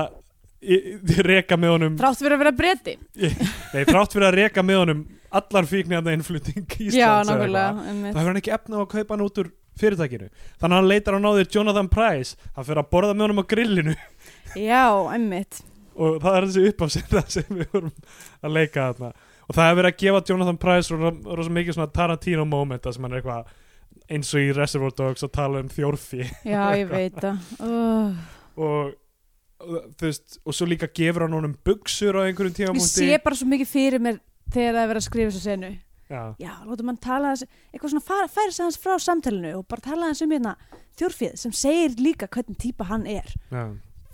Speaker 2: í- í- reka með honum
Speaker 3: Þrátt fyrir að vera breyti
Speaker 2: nei, þrátt fyrir að reka með honum allar fíknjarna innflutning Íslands
Speaker 3: Já,
Speaker 2: eða eitthvað.
Speaker 3: nákvæmlega einmitt.
Speaker 2: þá hefur hann ekki efni á að kaupa hann út úr fyrirtækinu þannig að hann leitar á náðir Jonathan Price hann fyrir að borða með honum á grillinu
Speaker 3: Já, emmitt
Speaker 2: og það er þessi uppafsenda sem við vorum að leika þarna og það er verið að gefa Jonathan Price ro- rosa mikið svona Tarantino momenta sem hann er eitthvað eins og í Reservoir Dogs að tala um þjórfi
Speaker 3: Já, ég veit það oh,
Speaker 2: og og þú veist, og svo líka gefur hann honum buksur á einhverjum
Speaker 3: Ég
Speaker 2: tímapunkti
Speaker 3: sé bara svo mikið fyrir mér þegar það er verið að skrifa þessu senu
Speaker 2: Já,
Speaker 3: Já, látum hann tala þessu eitthvað svona fara, færa sig hans frá samtalinu og bara tala þessu um hérna þjórfið sem segir líka hvernig típa hann er
Speaker 2: já.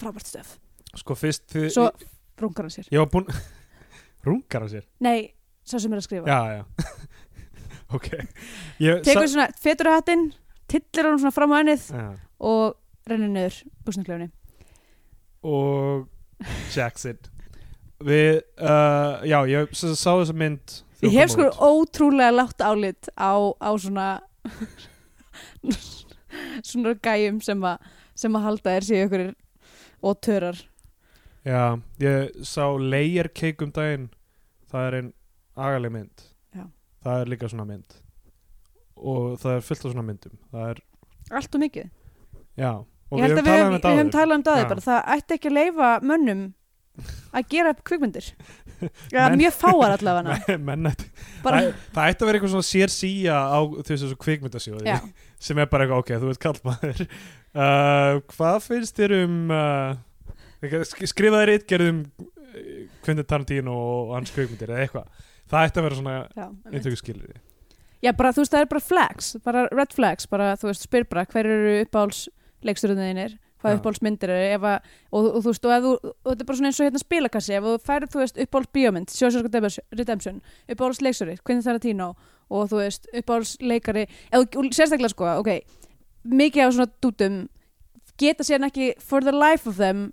Speaker 3: frábært stöf
Speaker 2: Sko fyrst þið,
Speaker 3: Svo rungar hann sér
Speaker 2: ég, ég var búinn Rungar hann sér?
Speaker 3: Nei, sá sem er að skrifa
Speaker 2: Já, já Ok ég,
Speaker 3: Tekur svona fetur að hattinn tillir hann svona fram á ennið
Speaker 2: já.
Speaker 3: og rennir niður buksnaklefni
Speaker 2: og Jackson Við, uh, já, ég s- sá þessa mynd þegar
Speaker 3: Ég hef
Speaker 2: hún
Speaker 3: sko
Speaker 2: kom út.
Speaker 3: ótrúlega látt álit á, á svona svona gæjum sem að sem að halda þér séu ykkur og törar
Speaker 2: Já, ég sá Layer Cake um daginn Það er ein agaleg mynd
Speaker 3: Já.
Speaker 2: Það er líka svona mynd Og það er fullt af svona myndum Það er,
Speaker 3: allt og mikið
Speaker 2: já Og
Speaker 3: Ég held að
Speaker 2: talað um
Speaker 3: við
Speaker 2: þetta
Speaker 3: höfum
Speaker 2: áður.
Speaker 3: talað um daði
Speaker 2: Já.
Speaker 3: bara það ætti ekki að leifa mönnum að gera upp kvikmyndir ja,
Speaker 2: Menn-
Speaker 3: mjög fáar allavega
Speaker 2: Men- menn ætti-
Speaker 3: um bara,
Speaker 2: það, það ætti að vera eitthvað svona sér síja á því þessu kvikmyndasjóði
Speaker 3: já,
Speaker 2: sem er bara eitthvað, ok, þú ert kallmaður uh, hvað finnst þér um uh, skrifaði reitgerðum Quentin Tarantino og hans kvikmyndir eða eitthvað, það ætti að vera svona
Speaker 3: já, einmitt.
Speaker 2: eintöku skilriði
Speaker 3: já, bara þú veist það er bara flags bara red flags, bara þú veist spyr bara hver eru uppáhalds leikstjórnuðinir hvað
Speaker 2: Já.
Speaker 3: uppáhaldsmyndir eru ef að, og, og þú veist, og, ef þú, og þetta er bara svona eins og hérna spilakassi, ef þú færið, þú veist, uppáhalds bíómynd, Sjósjórska Redemption uppáhalds leikstjóri, Quentin Tarantino og þú veist, uppáhalds leikari eða, og sérstaklega sko, ok mikið af svona dútum geta síðan ekki for the life of them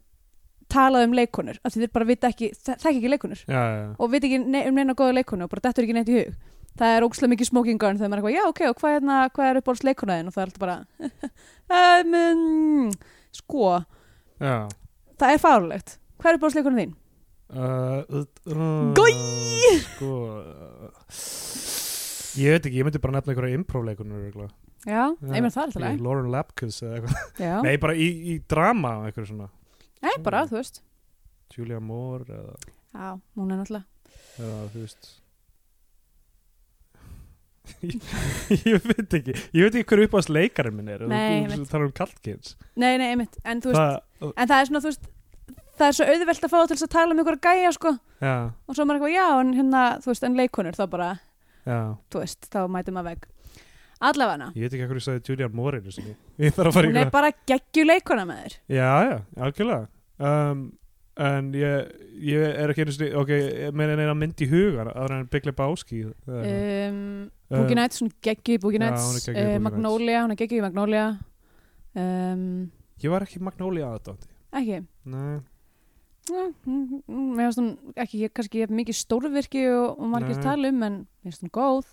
Speaker 3: talað um leikonur, af því þeir bara vita ekki þa- þekki ekki leikonur
Speaker 2: já, já, já.
Speaker 3: og veit ekki ne um neina góða leikonu og bara dettur ekki neitt í hug það er ókslega mikið smoking gun þegar maður er eitthvað, já ok, og hvað, hérna, hvað er uppáhalds leikonaðin og það er alltaf bara um, mm, sko,
Speaker 2: já.
Speaker 3: það er fárlegt hvað er uppáhalds leikonaðin þín?
Speaker 2: Uh, uh,
Speaker 3: Goj!
Speaker 2: sko uh, ég veit ekki, ég myndi bara nefna einhverja improv-leikunur örugglega.
Speaker 3: Já, ég meina það er alltaf
Speaker 2: Í
Speaker 3: leik
Speaker 2: Lauren Lapkus eða eitthvað
Speaker 3: Já,
Speaker 2: nei, bara í, í drama eitthvað svona
Speaker 3: nei, bara, þú veist
Speaker 2: Julia Moore eða
Speaker 3: Já, hún er náttúrulega
Speaker 2: eða þú veist ég, ég veit ekki ég veit ekki hver uppáðast leikarinn minn er
Speaker 3: Nei, ég
Speaker 2: þú
Speaker 3: veit.
Speaker 2: talar um kallkins
Speaker 3: Nei, nei, einmitt, en þú veist
Speaker 2: það,
Speaker 3: En það er svona, þú veist Það er svo auðvelt að fá það til þess að tala um ykkur gæja, sko
Speaker 2: já,
Speaker 3: Og svo er maður eitthvað, já, en hérna, þú veist, en leikonur Þá bara,
Speaker 2: já,
Speaker 3: þú veist, þá mætum að veg Allafana,
Speaker 2: ég veit ekki hverju sagði Julian Moore einu sinni. ég þarf að fara í
Speaker 3: hún er
Speaker 2: eitthvað
Speaker 3: bara geggju leikona með þér
Speaker 2: já, já, algjörlega um, en ég, ég er ekki einu sinni ok, með eina mynd í hugan aðra en Big Lebowski uh,
Speaker 3: um, Boogie Nights, hún er geggjuð í Boogie
Speaker 2: Já,
Speaker 3: Nights
Speaker 2: hún er geggjuð í
Speaker 3: uh,
Speaker 2: Boogie
Speaker 3: Magnolia, hún er geggjuð í Magnolia um,
Speaker 2: ég var ekki Magnolia aðdátti
Speaker 3: ekki
Speaker 2: nei,
Speaker 3: Mm, mm, mm, mér finnst hún ekki ég, kannski ég mikið stórvirki og, og margir
Speaker 2: Nei.
Speaker 3: tala um en mér finnst hún góð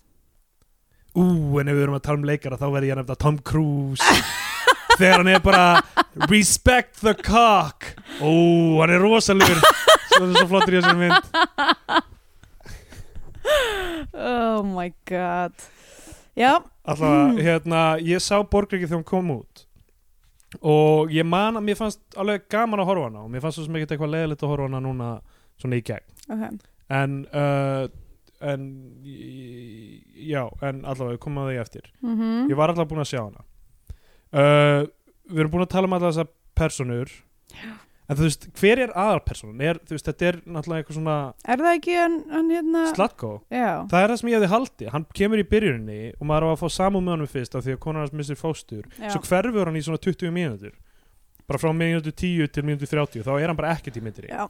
Speaker 2: Ú, en ef við erum að tala um leikara þá verði ég að nefna Tom Cruise þegar hann er bara Respect the cock Ó, hann er rosalur Svo er svo flottur í þessari mynd
Speaker 3: oh my god já,
Speaker 2: Alltaf, hérna, ég sá Borgriki þegar hún kom út og ég man að mér fannst alveg gaman að horfa á hana og mér fannst svo sem ekkert eitthvað leiðilegt að horfa á hana núna svona í gegn
Speaker 3: ok
Speaker 2: en, uh, en í- já, en allavega, við komum að því eftir
Speaker 3: mm -hmm.
Speaker 2: ég var alltaf búin að sjá hana uh, við erum búin að tala um alltaf þessar personur en þú veist, hver er aðalpersonan er, þú veist, þetta er náttúrulega eitthvað svona
Speaker 3: er það ekki hann, hann hérna
Speaker 2: slatkó
Speaker 3: já,
Speaker 2: það er það sem ég hefði haldi, hann kemur í byrjuninni og maður á að fá samúð með honum fyrst af því að konar hans missir fóstur,
Speaker 3: já.
Speaker 2: svo hverfur hann í svona 20 mínútur bara frá mínútu 10 til mínútu 30 þá er hann bara ekkert í myndri
Speaker 3: Já.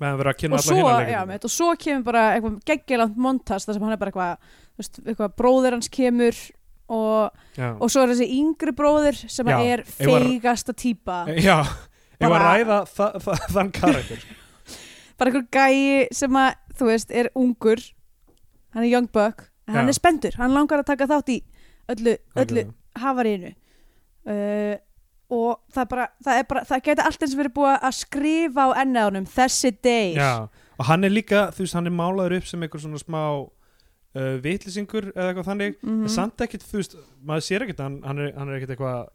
Speaker 2: meðan verið að kynna Hérna
Speaker 3: og
Speaker 2: alla
Speaker 3: svo,
Speaker 2: hina
Speaker 3: já,
Speaker 2: leikurinn
Speaker 3: mitt, og svo kemur bara eitthvað geggjælant montast þar sem hann er bara eitthvað, þú veist, eitthvað bróðir hans kemur og og svo er þessi yngri bróðir sem
Speaker 2: Já,
Speaker 3: er
Speaker 2: ég var-
Speaker 3: feigasta típa
Speaker 2: já, ég var að
Speaker 3: Bara-
Speaker 2: ræða þa þa þann karakter sko.
Speaker 3: bara einhver gæi sem að þú veist er ungur hann er young buck, en hann
Speaker 2: Já.
Speaker 3: er spendur hann langar að taka þátt í öllu, öllu
Speaker 2: Algjörlega.
Speaker 3: hafarínu uh, og það er bara það, er bara, það geta allt eins verið búið að skrifa á ennaðunum þessi deyr
Speaker 2: Já, og hann er líka, þú veist, hann er málaður upp sem einhver svona smá uh, vitlisingur eða eitthvað þannig
Speaker 3: Mhm.
Speaker 2: en samt ekkit, þú veist, maður sér ekkit hann, hann, er, hann er ekkit eitthvað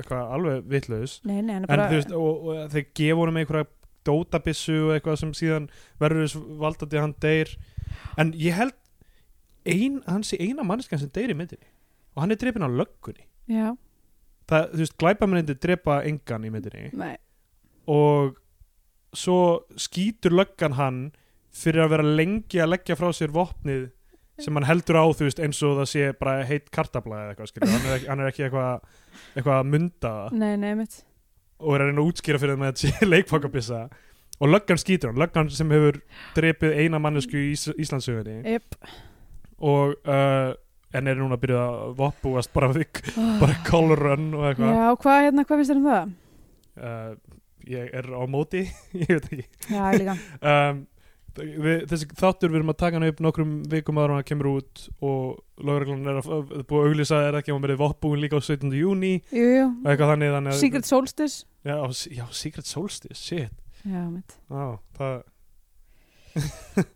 Speaker 2: eitthvað alveg vitlaus
Speaker 3: nei, nei, hann
Speaker 2: en
Speaker 3: er bara
Speaker 2: þú veist, og, og þeir gefa honum einhverja dótabissu og eitthvað sem síðan verður þess valdandi að hann deyr en ég held ein, hann sé eina manneskan sem deyr í myndinni og hann er drepin á löggunni
Speaker 3: já,
Speaker 2: það, þú veist, glæpamennindi drepa engan í myndinni
Speaker 3: nei,
Speaker 2: og svo skýtur löggan hann fyrir að vera lengi að leggja frá sér vopnið sem hann heldur á þú veist eins og það sé bara heitt kartabla eða eitthvað skilur, hann er ekki, hann er ekki eitthvað eitthvað að mynda það
Speaker 3: nei, nei, mitt
Speaker 2: og er að reyna að útskýra fyrir þeim að þetta sé leikfangabissa og löggan skýtur hann, löggan sem hefur drepið eina mannesku í Ís Íslandsögunni
Speaker 3: yep.
Speaker 2: og uh, en er núna að byrja að vopbúast bara við bara call run og eitthvað
Speaker 3: já, hvað, hérna, hvað finnst þér um það?
Speaker 2: uh, ég er á móti ég veit ekki
Speaker 3: já, líka
Speaker 2: um, við, þessi þáttur við erum að taka hann upp nokkrum vikum áður en hann kemur út og lögreglan er að, að búið að auglýsa er ekki að hún verið vottbúin líka á 17. júni
Speaker 3: jú, jú.
Speaker 2: og eitthvað þannig, þannig að-
Speaker 3: Secret Solstice
Speaker 2: já, á, já, Secret Solstice, shit
Speaker 3: já, mitt
Speaker 2: á, það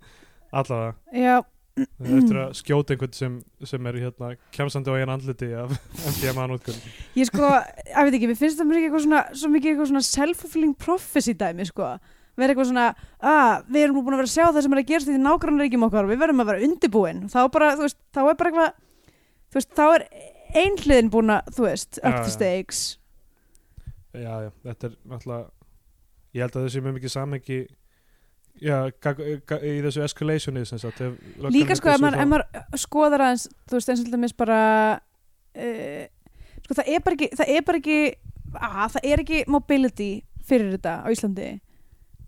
Speaker 2: allavega
Speaker 3: já,
Speaker 2: það er eftir að skjóta einhvern sem, sem er hérna kemsandi á eigin andliti af MDMA nútkun
Speaker 3: ég sko, ég veit ekki, mér finnst það mér ekki eitthvað svona, svo mikið eitthvað svona self-fulfilling prophecy dæmi, sko vera eitthvað svona, að, við erum nú búin að vera að sjá það sem er að gerast í því nágrannaríkjum okkar og við verðum að vera undirbúin, þá bara, þú veist þá er bara eitthvað, þú veist, þá er ein hliðin búin að, þú veist, up
Speaker 2: Já,
Speaker 3: to
Speaker 2: já.
Speaker 3: stakes
Speaker 2: já, já, þetta er náttúrulega ég held að þessi mjög mikið samhengi já, gag, gag, í þessu escalationi sem sagt ef löggan
Speaker 3: líka
Speaker 2: er
Speaker 3: sko, ef
Speaker 2: byssu
Speaker 3: maður,
Speaker 2: þá-
Speaker 3: ef maður skoðar aðeins, þú veist, eins og dæmis bara uh, sko, það er bara ekki það er bara ekki, að, það er ekki mobility fyrir þetta á Íslandi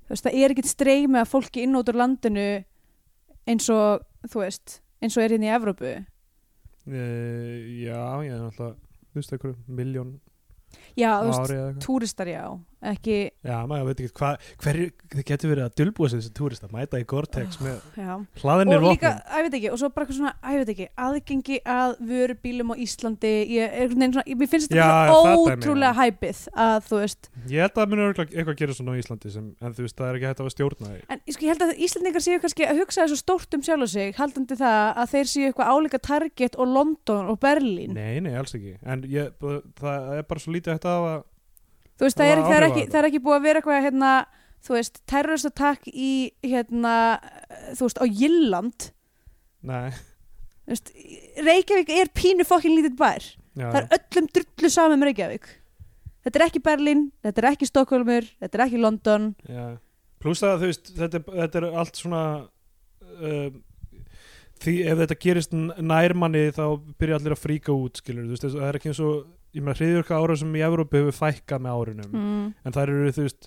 Speaker 3: þú veist, það er ekki streymi að fólki inn og út úr landinu eins og, þú veist eins og er hérna í Evrópu
Speaker 2: Eh, já, ég er náttúrulega þú veist einhverju, miljón
Speaker 3: já, þú veist,
Speaker 2: ári eða eitthvað
Speaker 3: túristar já ekki,
Speaker 2: já, maður veit ekki hvað, hverju þið getur verið að dulbúa sér þessi túrista, mæta í Gore-Tex með
Speaker 3: já
Speaker 2: hlaðinir
Speaker 3: og líka,
Speaker 2: vopnum
Speaker 3: að ég veit ekki, og svo bara eitthvað svona, að ég veit ekki aðgengi að vörubílum á Íslandi ég, er einhvern veginn svona, mér finnst
Speaker 2: Já,
Speaker 3: þetta
Speaker 2: það
Speaker 3: bara
Speaker 2: dæmi,
Speaker 3: ótrúlega hæpið að þú veist,
Speaker 2: ég held að það munur örugglega eitthvað að gera svona á Íslandi sem, en þú veist, það er ekki hægt að stjórna því
Speaker 3: En ég sko, ég held að Íslandingar séu kannski að hugsa þessu stórt um sjálf og sig, haldandi það að þeir séu eitthvað álíka Target og London og Berlín.
Speaker 2: Nei, nei, alls ekki En ég, það er bara svo lítið hægt að hafa
Speaker 3: Þú veist, það
Speaker 2: Það
Speaker 3: er,
Speaker 2: var
Speaker 3: það, er
Speaker 2: áhrif á
Speaker 3: ekki,
Speaker 2: þetta.
Speaker 3: það er ekki búið að vera eitthvað, hérna, þú veist, terroristatak í, hérna, þú veist, á Jylland.
Speaker 2: Nei,
Speaker 3: Þú veist, Reykjavík er pínu fokkin lítið bær.
Speaker 2: já,
Speaker 3: Það er öllum drullu saman með Reykjavík. Þetta er ekki Berlín, þetta er ekki Stokkólmur, þetta er ekki London.
Speaker 2: já Plús að þú veist, þetta, er- þetta er allt svona um, Því ef þetta gerist n- nær manni þá byrja allir að fríka út skilur, þú veist, þess- það er ekki eins og ég meina hriðjörka ára sem í Evrópu hefur fækkað með árunum
Speaker 3: Mm.
Speaker 2: en það eru þú veist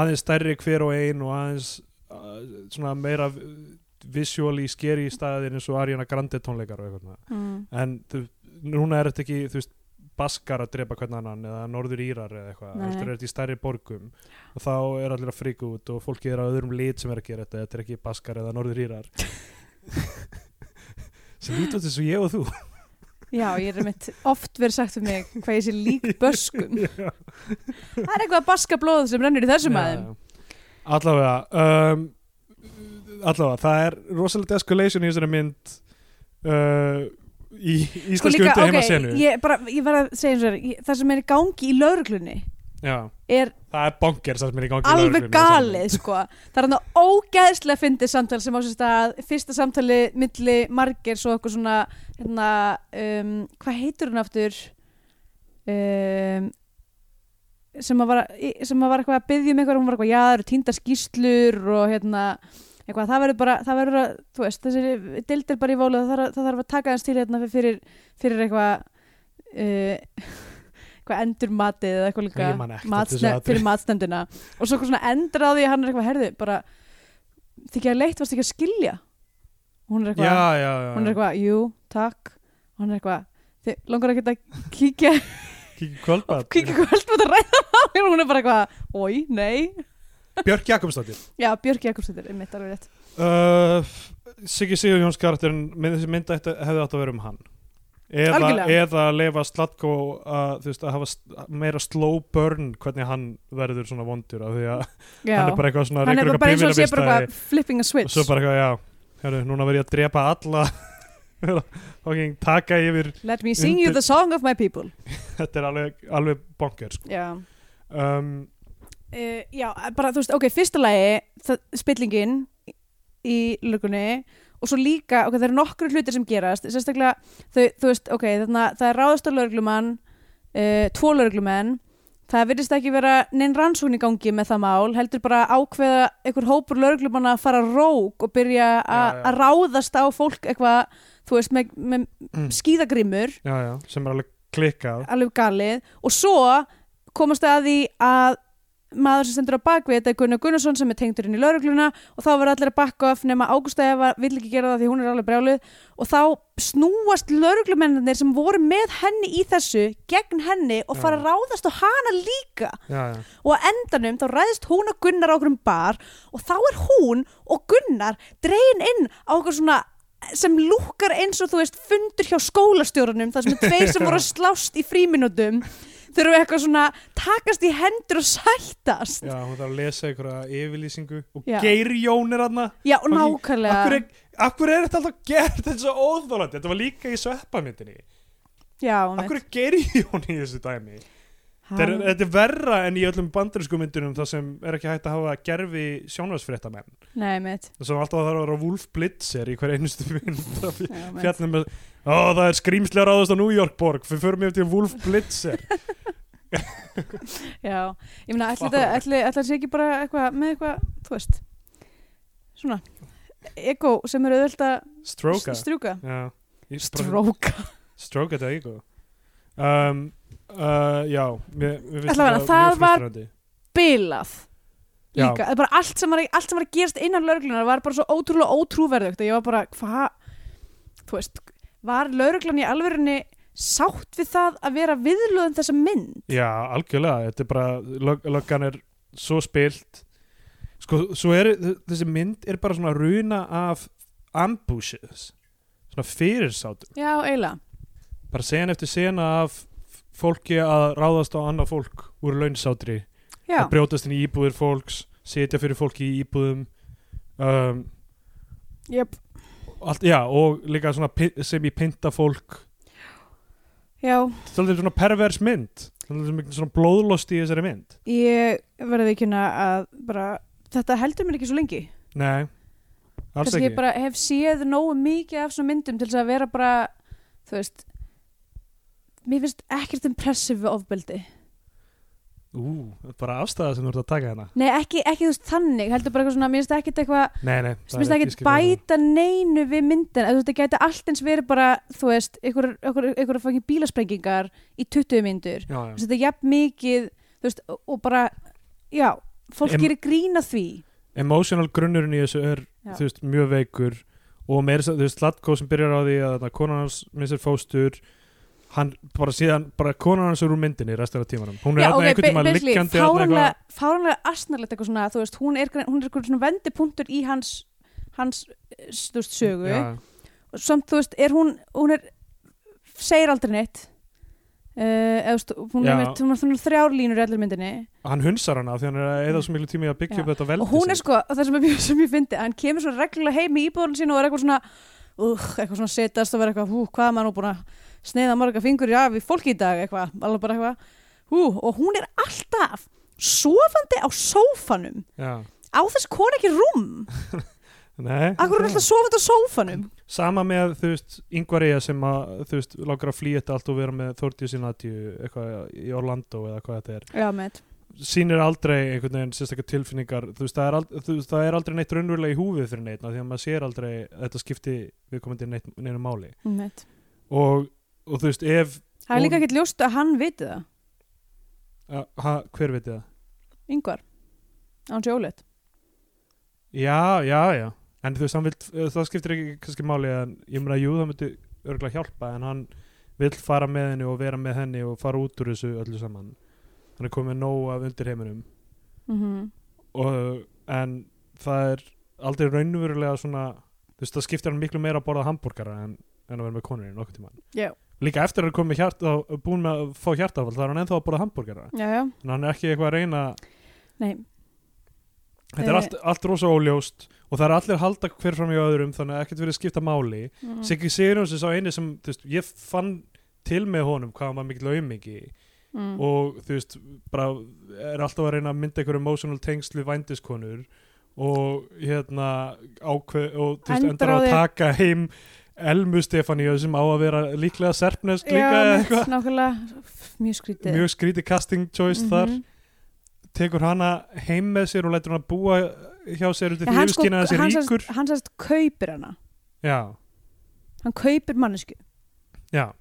Speaker 2: aðeins stærri hver og ein og aðeins uh, svona meira v- visually skeri í staðin eins og Ariana Grande tónleikar og eitthvað
Speaker 3: Mm.
Speaker 2: en þú, núna er þetta ekki þú veist baskar að drepa hvern annan eða norður írar eða eitthvað,
Speaker 3: Nei.
Speaker 2: þú veist, er þetta í stærri borgum og þá er allir að fríka út og fólki er á öðrum lit sem er að gera þetta þetta er ekki baskar eða norður írar sem lítur út eins og ég og þú
Speaker 3: Já, ég er mitt oft verið sagt um mig hvað ég sé lík böskum.
Speaker 2: Já.
Speaker 3: Það er eitthvað baska blóð sem rennur í þessum aðeim.
Speaker 2: Já, já. Allavega um, Allavega, það er rosalegt escalation í þessari mynd uh, í íslensku sko undir heimasenu
Speaker 3: ég, bara, ég verð að segja eins og þér, ég- það sem er í gangi í lauruglunni
Speaker 2: Já,
Speaker 3: er
Speaker 2: það er bonger sem er í gangi í
Speaker 3: alveg
Speaker 2: lögreglunni í þessari mynd.
Speaker 3: galið, sko. Það er hann að ógeðslega fyndið samtal sem á sér stað, fyrsta samtali milli margir svo okkur svona, hérna, um, hvað heitur hann aftur? Um, sem að var, í- sem að var eitthvað að byggja um eitthvað, hún var eitthvað, já, það eru týndar skýslur og hérna, eitthvað, það verður bara, það verður að, þú veist, þessi deildir bara í vólu, það þarf, að- það þarf að taka hans til hérna fyrir, fyrir eitthvað, uh, eitthvað endur matið eða eitthvað
Speaker 2: Ég man
Speaker 3: líka
Speaker 2: ekkert eftir þessu atriði.
Speaker 3: fyrir matsnefndina og svo eitthvað svona endur á því að hann er eitthvað, herði, bara, þykja leitt, varst ekki að skilja? Og Hún er
Speaker 2: Já,
Speaker 3: eitthvað,
Speaker 2: já, já,
Speaker 3: hún er eitthvað, jú, takk, og hann er eitthvað, þið langar ekki að kíkja
Speaker 2: Kíkja í kvöldbað
Speaker 3: kíkja kvöldmátt að ræða það og hún er bara eitthvað, oi, nei
Speaker 2: Björk Jakobsdóttir
Speaker 3: já, Björk Jakobsdóttir, er mitt alveg rétt
Speaker 2: uh, Siggi Sigur Jóns karakterin mynd, þessi mynd ætti, hefði átt að vera um hann eða,
Speaker 3: Algjörlega.
Speaker 2: eða leifa Slatko að, þú veist, að hafa s- meira slow burn hvernig hann verður svona vondur af því að
Speaker 3: já.
Speaker 2: hann er bara eitthvað svona
Speaker 3: hann er
Speaker 2: rekur
Speaker 3: bara, bara eins og sé
Speaker 2: eitthvað bifurabílstæði
Speaker 3: bara eitthvað flipping a
Speaker 2: og
Speaker 3: switch
Speaker 2: svo bara eitthvað, já, hérna, núna verð ég að drepa alla fucking taka yfir
Speaker 3: let me sing you
Speaker 2: Undir-
Speaker 3: the song of my people
Speaker 2: þetta er alveg, alveg bonger sko.
Speaker 3: já
Speaker 2: um,
Speaker 3: uh, já, bara þú veist, ok, fyrsta lagi það- spillingin í- í lögunni og svo líka, ok, það eru nokkru hlutir sem gerast sérstaklega, þau, þú veist, ok þarna, það er ráðast á lögreglumann uh, tvo lögreglumenn það virðist ekki vera neinn rannsókn í gangi með það mál, heldur bara ákveða einhver hópur lögreglumanna að fara á rók og byrja a-
Speaker 2: Já, já.
Speaker 3: að ráðast á fólk eitthvað, þú veist, með, með
Speaker 2: Mm.
Speaker 3: skíðagrimur
Speaker 2: já, já, sem er alveg klikkað
Speaker 3: alveg galið og svo komast að því að maður sem stendur á bakvið þetta er Gunnar Gunnarsson sem er tengdur inn í laurugluna og þá verður allir að bakka af nema Ágústa Eva vill ekki gera það því hún er alveg brjálið og þá snúast lauruglumennir sem voru með henni í þessu gegn henni og fara að ráðast á hana líka
Speaker 2: já, já.
Speaker 3: og á endanum þá ræðist hún og Gunnar á okkur um bar og þá er hún og Gunnar dregin inn á okkur svona sem lúkkar eins og þú veist fundur hjá skólastjórunum þar sem er tveir sem voru að slást í fríminutum þurfum eitthvað svona takast í hendur og sættast
Speaker 2: Já, hún þarf að lesa einhverja yfirlýsingu og
Speaker 3: Já.
Speaker 2: Geir Jón er aðna
Speaker 3: já og
Speaker 2: Akkur
Speaker 3: nákvæmlega
Speaker 2: er, akkur er þetta alltaf gert þetta er svo óþólandi, þetta var líka í sveppamyndinni
Speaker 3: já,
Speaker 2: Akkur er Geir Jón í þessu dæmi Þetta er, þetta er verra en í öllum bandarísku myndunum þar sem er ekki hægt að hafa gerfi sjónvarsfréttamenn
Speaker 3: neymitt
Speaker 2: þar sem alltaf þarf að vera Wolf Blitzer í hver einustu mynd af- fjallum með, ó það er skrýmslega ráðast á New York borg, við förum yfir til Wolf Blitzer
Speaker 3: já, ég meina ætla þetta ætla þetta sé ekki bara eitthvað með eitthvað, þú veist svona ego sem er auðvöld að
Speaker 2: Stroka
Speaker 3: strjúka
Speaker 2: Já. Ég-
Speaker 3: stróka
Speaker 2: Stroke þetta ego um, uh, Já mér, mér finnst
Speaker 3: Allavega,
Speaker 2: þetta
Speaker 3: það
Speaker 2: mjög
Speaker 3: var-
Speaker 2: frustrandi.
Speaker 3: bilað
Speaker 2: Já.
Speaker 3: líka, það er bara allt sem, var, allt sem var að gerast innan lauruglunar var bara svo ótrúlega ótrúverðugt og ég var bara, hvað þú veist, var lauruglan í alvörunni sátt við það að vera viðlöðum þessa mynd
Speaker 2: Já, algjörlega, þetta er bara lög- löggan er svo spilt Sko, svo er þessi mynd er bara svona runa af ambushes svona fyrirsátum
Speaker 3: já, eiginlega,
Speaker 2: bara sen eftir sena af fólki að ráðast á annað fólk úr launsátri
Speaker 3: já,
Speaker 2: að brjótast inn í íbúðir fólks setja fyrir fólki í íbúðum um,
Speaker 3: jöp
Speaker 2: allt, já, og líka svona py- sem í pynta fólk
Speaker 3: já,
Speaker 2: Þetta er svolítið svona pervers mynd Þetta er svolítið svona blóðlost í þessari mynd
Speaker 3: ég verði ekki að bara, þetta heldur mér ekki svo lengi
Speaker 2: Nei, alls
Speaker 3: kannski
Speaker 2: ekki
Speaker 3: ég bara hef séð nógu mikið af svona myndum til þess að vera bara, þú veist mér finnst ekkert impressive við ofbeldi
Speaker 2: Ú, bara afstæða sem þú ert að taka hérna. hana
Speaker 3: Nei, ekki, ekki þú veist þannig, heldur bara eitthvað svona, mér finnst ekkert eitthvað,
Speaker 2: Nei, nei
Speaker 3: mér finnst ekkert bæta neinu við myndin, þú veist, það gæti allt eins verið bara, þú veist, ykkur, ykkur, ykkur að fangin bílasprengingar í 20 myndur,
Speaker 2: Já,
Speaker 3: þú
Speaker 2: já
Speaker 3: veist, þetta er jafn mikið, þú veist, og- og bara, já, fólk
Speaker 2: Em-
Speaker 3: gerir grína því,
Speaker 2: Emotional grunnurinn í þessu er,
Speaker 3: Já.
Speaker 2: þú veist, mjög veikur og meir, þú veist, Latko sem byrjar á því að þarna, konan hans missir fóstur hann bara síðan, bara konan hans er úr myndinni restina af tímanum hún er
Speaker 3: já,
Speaker 2: þarna einhvern tímann
Speaker 3: basically,
Speaker 2: liggjandi þarna
Speaker 3: fáránlega, fáránlega astnarlegt eitthvað svona, þú veist, hún er, grein- hún er eitthvað svona vendipunktur í hans, hans, eh, þú veist, sögu,
Speaker 2: Já,
Speaker 3: Og samt þú veist, er hún, hún er segir aldrei neitt uh, eða þú veist, hún
Speaker 2: Já.
Speaker 3: er, mitt, hún er þannig þrjár línur í allir myndinni
Speaker 2: hann hunsar hana því hann er að eða svo miklu tími að byggja
Speaker 3: Já.
Speaker 2: upp þetta veldi
Speaker 3: og hún er
Speaker 2: sitt.
Speaker 3: sko, og það sem, er mjög- sem ég fyndi hann kemur svo reglulega heim í íbúðunum sín og er eitthvað svona uh, eitthvað svona setast og verður eitthvað, hú, hvað er maður nú búin að sneiða marga fingur í af í fólki í dag eitthvað, alveg bara eitthvað hú, og hún er alltaf sofandi á sófanum
Speaker 2: Já,
Speaker 3: á þess konu ekki rúm
Speaker 2: nei
Speaker 3: akkur er hún alltaf sofandi á sófanum
Speaker 2: sama með þú veist yngvarja sem að þú veist langar að flýja þetta allt og vera með Þórdíu sinnatíu eitthvað í Orlando eða hvað þetta er
Speaker 3: já, með
Speaker 2: sýnir aldrei einhvern veginn sérstakar tilfinningar þú veist, það er, ald- þú veist, það er aldrei neitt raunverulega í húfið fyrir neitt af því að maður sér aldrei að þetta skipti viðkomandi neitt, neinu máli og, og þú veist ef
Speaker 3: það er líka
Speaker 2: Hún-
Speaker 3: ekkert ljóst að hann viti það
Speaker 2: a, ha, hver veit ég það?
Speaker 3: Yngvar Án Jólet
Speaker 2: Já, já, já en þú veist, hann vill, eh, það skiptir ekki kannski máli en ég meina, jú, það myndi örgulega hjálpa en hann vill fara með henni og vera með henni og fara út úr þessu öllu saman hann er komið nóg af undirheiminum
Speaker 3: mm -hmm.
Speaker 2: og, en það er aldrei raunverulega svona þú veist, það skiptir hann miklu meira að borða hambúrgara en, en að vera með konurinn nokkuð tímann
Speaker 3: Já.
Speaker 2: líka eftir að hann komið hjart, þá, búin með að fá hjartafall þá er hann ennþá að borða hambúrgara
Speaker 3: Já, já,
Speaker 2: en hann er ekki eitthvað að reyna
Speaker 3: nei
Speaker 2: þetta er
Speaker 3: Eh.
Speaker 2: allt, allt rosa óljóst og það er allir að halda hver fram í öðrum þannig að ekkert verið að skipta máli
Speaker 3: mm.
Speaker 2: Siggi Sigurjóns er sá eini sem þú veist, ég fann til með honum hvað hann var mikill aumingi
Speaker 3: mm.
Speaker 2: og þú veist bara er alltaf að reyna að mynda einhver emotional tengsl við vændiskonur og hérna ákveð og þú veist
Speaker 3: Endar
Speaker 2: endar á
Speaker 3: á
Speaker 2: að
Speaker 3: því-
Speaker 2: taka heim Elmu Stefaníu sem á að vera líklega serpnesk líka eða
Speaker 3: einmitt,
Speaker 2: eitthvað
Speaker 3: Nákvæmlega, f- mjög skrítið
Speaker 2: mjög skríti casting choice
Speaker 3: Mhm.
Speaker 2: þar tekur hana heim með sér og lætur hana búa hjá sér út í
Speaker 3: ja, Hann sko,
Speaker 2: yfirskina þessi
Speaker 3: hann
Speaker 2: ríkur
Speaker 3: sagðist, hann sagðist kaupir hana
Speaker 2: Já,
Speaker 3: Hann kaupir mannesku
Speaker 2: já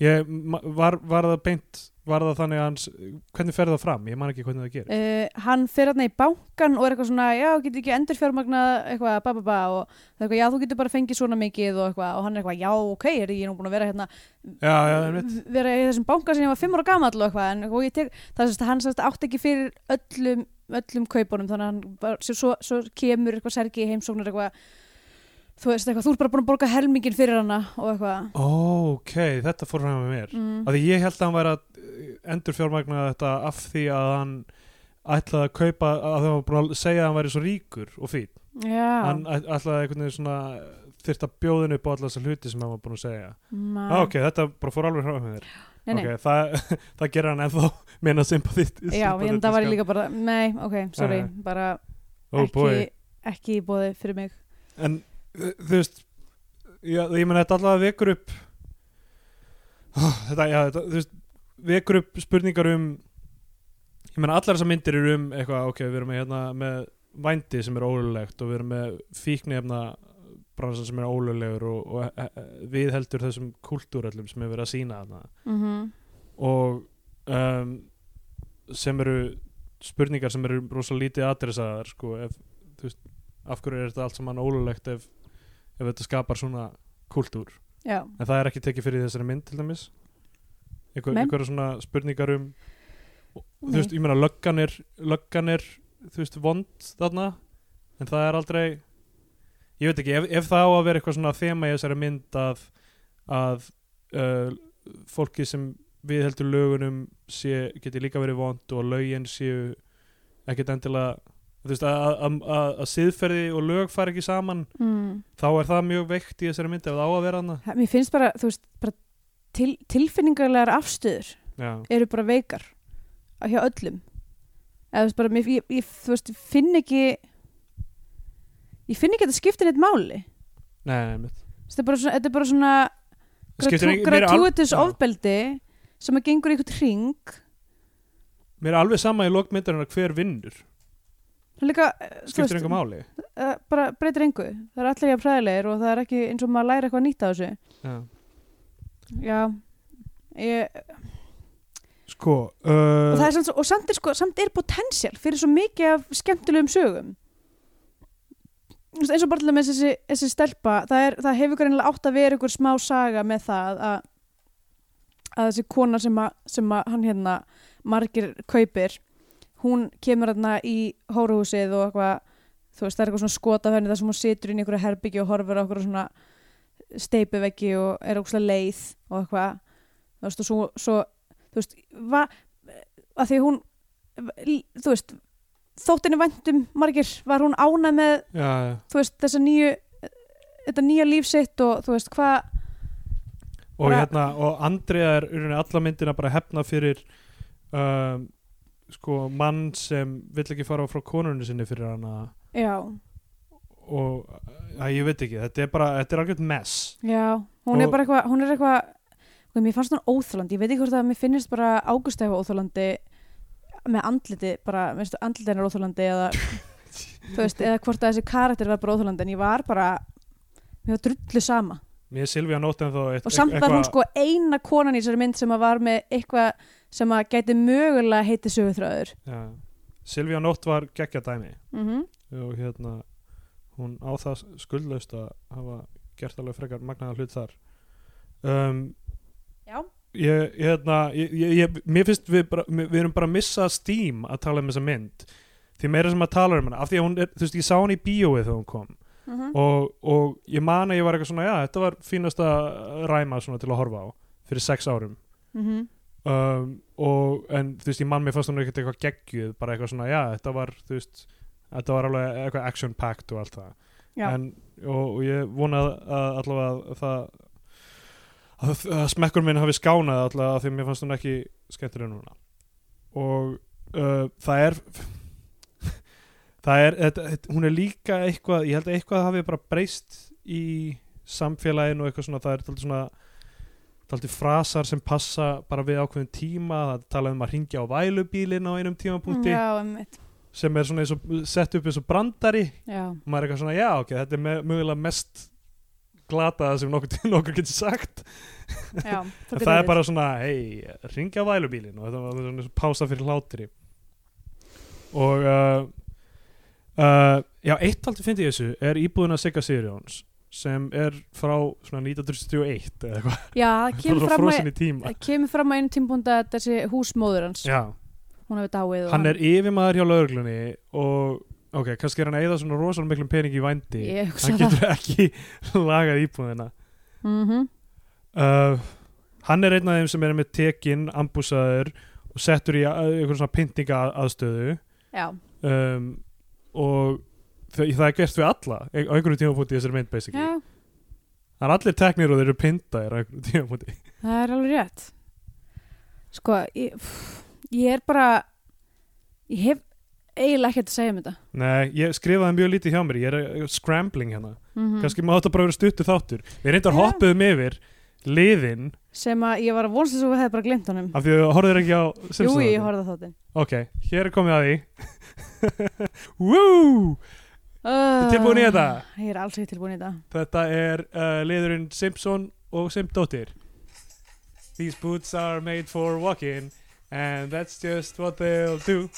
Speaker 2: Ég, ma- var, var það beint, var það þannig að hans, hvernig fer það fram? Ég man ekki hvernig það gerir.
Speaker 3: Uh, hann fer hérna í bankan og er eitthvað svona, já, getur ekki endur fjármagnað eitthvað, ba, ba, ba, og það er eitthvað, já, þú getur bara fengið svona mikið og eitthvað, og hann er eitthvað, já, ok, er ég er nú búin að vera hérna,
Speaker 2: Já, já, einmitt.
Speaker 3: vera í þessum banka sem ég var fimm ára gamall og eitthvað, en og ég tek, það er sérst að hann sérst átt ekki fyrir öllum, öllum kaupunum, þannig að hann, bara, svo, svo, svo kemur eitthvað sergi í heimsóknar eitthvað, þú veist eitthvað, þú ert bara búin að borga helmingin fyrir hana og eitthvað,
Speaker 2: Ó, ok, þetta fór fram með mér.
Speaker 3: mm,
Speaker 2: Af því ég held að hann væri að endur fjármagna þetta af því að hann ætlaði að kaupa, að það var búin að segja að hann væri svo ríkur og fín.
Speaker 3: já,
Speaker 2: Hann æ- ætlaði einhvern veginn svona þyrft að bjóðin upp á alla þessar hluti sem hann var búin að segja.
Speaker 3: ma-
Speaker 2: Ah. ok, þetta bara fór alveg fram með mér.
Speaker 3: nei, nei,
Speaker 2: Ok, það, það gerir hann ennþá minna sympatít.
Speaker 3: já, en það var ég líka bara, nei, ok, sorry,
Speaker 2: Nei.
Speaker 3: bara,
Speaker 2: Ó, Oh, boy.
Speaker 3: ekki, ekki í bóði fyrir mig
Speaker 2: en þ- þú veist já, ég meina þetta allavega vekur upp Ah, þetta, já, þetta, þú veist vekur upp spurningar um ég meina allar þessar myndir eru um eitthvað, ok, við erum með, hérna, með vændi sem er ólulegt og við erum með fíknefna bransan sem er ólulegur og, og e- e- við heldur þessum kultúrallum sem er verið að sína þarna
Speaker 3: mm -hmm.
Speaker 2: og um, sem eru spurningar sem eru rosa lítið adressaðar sko, ef, þú veist, af hverju er þetta allt saman ólulegt ef, ef þetta skapar svona kultúr
Speaker 3: Já,
Speaker 2: en það er ekki tekið fyrir í þessari mynd til dæmis Einhver,
Speaker 3: Nei.
Speaker 2: einhverja svona spurningar um og, þú
Speaker 3: Nei.
Speaker 2: veist, ég meina löggan er löggan er, þú veist, vond þarna, en það er aldrei ég veit ekki, ef, ef það á að vera eitthvað svona þema í þessari mynd að að uh, fólki sem viðheldur lögunum sé, geti líka verið vond og lögin séu ekkert endilega þú veist, að, að, að, að siðferði og lög fara ekki saman
Speaker 3: mm.
Speaker 2: þá er það mjög veikt í þessari mynd ef það á að vera hana
Speaker 3: mér finnst bara, þú veist, bara til, tilfinningarlegar afstöður
Speaker 2: Já.
Speaker 3: eru bara veikar að hjá öllum eða þú veist bara, mér, ég, ég, þú veist, ég finn ekki ég finn ekki að þetta skiptir neitt máli
Speaker 2: Nei, nei, mitt
Speaker 3: Þú veist, þetta er bara svona, þetta er bara svona
Speaker 2: Skiptir
Speaker 3: gratu-
Speaker 2: ekki- mér er al-
Speaker 3: gratuitous
Speaker 2: Já.
Speaker 3: ofbeldi sem að gengur í einhvern ring
Speaker 2: Mér er alveg sama í lokmyndarinn að hver vinnur
Speaker 3: Það er líka, eh, þú
Speaker 2: skiptir
Speaker 3: veist,
Speaker 2: einhver máli
Speaker 3: eh, bara breytir engu það er allir ég að præðilegir og það er ekki eins og maður læri eitthvað nýtt á þessu
Speaker 2: Já.
Speaker 3: Já ég,
Speaker 2: Sko
Speaker 3: og,
Speaker 2: uh,
Speaker 3: það er samt, svo- og samt er, sko, samt er potensial fyrir svo mikið af skemmtilegum sögum Þú veist, eins og bara til með þessi, þessi stelpa það, er, það hefur greinilega átt að vera ykkur smá saga með það að, að þessi kona sem, að, sem að hann hérna margir kaupir hún kemur hérna í hóruhúsið og eitthvað þú veist það er eitthvað svona skot af henni þar sem hún situr inn í einhverju herbyggju og horfur á okkur svona steipuveggi og er ókslega leið og eitthvað þú veist og svo, svo þú veist, va, að því hún þú veist, þóttinu væntum um margir, var hún ánað með
Speaker 2: Já, já.
Speaker 3: þú veist, þessa nýju þetta nýja líf sitt og þú veist, hvað
Speaker 2: og,
Speaker 3: Bara-
Speaker 2: hérna, og Andrea er í rauninni alla myndina bara hefna fyrir um, sko mann sem vill ekki fara frá konunni sinni fyrir hana
Speaker 3: já,
Speaker 2: og að, ég veit ekki, þetta er bara þetta er algjörn mess
Speaker 3: já, hún
Speaker 2: Og-
Speaker 3: er bara eitthvað hún er eitthvað, og mér fannst hún óþólandi ég veit ekki hvort að mér finnist bara águst eitthvað óþólandi með andliti bara, veist, andliti hennar óþólandi eða, þú veist, eða hvort að þessi karakter var bara óþólandi, en ég var bara mér var drullu sama
Speaker 2: mér er Silvíu að nótt en þó
Speaker 3: og samt var hún sko eina konan í þessari mynd sem að var með eitthvað sem að gæti mögulega heiti söguþröður
Speaker 2: ja, Silvíu að nótt var geggja dæmi
Speaker 3: mm
Speaker 2: og hérna hún á það skuldlaust að hafa gert alveg frekar magnaða hlut þar um,
Speaker 3: Já.
Speaker 2: ég, ég, hérna, ég, ég, ég, mér finnst við, bara, mér- við erum bara að missa stím að tala um þessa mynd því meira sem að tala um hana af því að hún, er, þú veist, ég sá hún í bíóið þegar hún kom
Speaker 3: Mhm.
Speaker 2: og, og ég man að ég var eitthvað svona já, þetta var fínasta ræma svona til að horfa á fyrir sex árum
Speaker 3: Mhm.
Speaker 2: um, og, en þú veist, ég man mér fannst hún ekkert eitthvað geggjuð, bara eitthvað svona, já, þetta var þú veist, þetta var alveg eitthvað action-packed og allt það
Speaker 3: Já.
Speaker 2: en, og, og ég vona að, að allavega að það að, að smekkur minn hafi skánað allavega af því að mér fannst hún ekki skemmtileg núna og uh, það er það er, þetta, þetta, hún er líka eitthvað, ég held að eitthvað hafi bara breyst í samfélaginu og eitthvað svona, það er taldið svona taldið frasar sem passa bara við ákveðin tíma, það er talað um að ringja á vælubílinn á einum tímapunkti
Speaker 3: já, einmitt.
Speaker 2: sem er svona eins og sett upp eins og brandari
Speaker 3: já,
Speaker 2: og maður er eitthvað svona, já ok, þetta er me- mögulega mest glataða sem nokkur, nokkur getur sagt
Speaker 3: já,
Speaker 2: En
Speaker 3: svolítið
Speaker 2: það er
Speaker 3: leiðis.
Speaker 2: bara svona, hei, ringja á vælubílin og þetta var svona eins og pása fyrir hlátri og uh, uh, já, eitt aldrei fyndi ég þessu er íbúðin að Sigga Sigurjóns sem er frá svona 1931 eða eitthvað,
Speaker 3: já, það
Speaker 2: bara
Speaker 3: kemur
Speaker 2: svona
Speaker 3: fram,
Speaker 2: frosin í tíma
Speaker 3: að, kemur fram að einu tímpúnd að þessi húsmóður hans
Speaker 2: Já,
Speaker 3: hún hefur dáið og
Speaker 2: hann er yfirmaður hjá lauglunni og ok, kannski er hann að eyða svona rosalega miklum pening í vændi
Speaker 3: ég hugsa
Speaker 2: hann
Speaker 3: það
Speaker 2: getur ekki lagað hérna. íbúðina
Speaker 3: mm
Speaker 2: uh, hann er einn af þeim sem er með tekinn, ambúsaður og settur í að- einhvern svona pyntinga aðstöðu
Speaker 3: já,
Speaker 2: um, og það, það er gert við alla e- á einhverju tímafóti í þessari mynd basically
Speaker 3: já,
Speaker 2: það er allir teknir og þeir eru pyntaðir á einhverju tímafóti
Speaker 3: það er alveg rétt sko ég, pff, ég er bara ég hef eiginlega ekkert að segja um þetta
Speaker 2: nei, ég skrifaði mjög lítið hjá mér ég er eh, scrambling hérna
Speaker 3: mm
Speaker 2: kannski má þetta bara vera stuttu þáttur við reyndar
Speaker 3: Já.
Speaker 2: hoppuðum yfir liðin
Speaker 3: sem að ég var að vonst þess að við hefði bara glemt honum
Speaker 2: af því að horfður ekki á
Speaker 3: jú,
Speaker 2: Simpsons
Speaker 3: ég
Speaker 2: þáttinn.
Speaker 3: horfði á þáttinn
Speaker 2: ok, hér er komið að því Woo!
Speaker 3: uh,
Speaker 2: tilbúin í þetta?
Speaker 3: ég er alls ekki tilbúin í þetta
Speaker 2: Þetta er uh, liðurinn Simpson og Simpdóttir These boots are made for walking And that's just what they'll do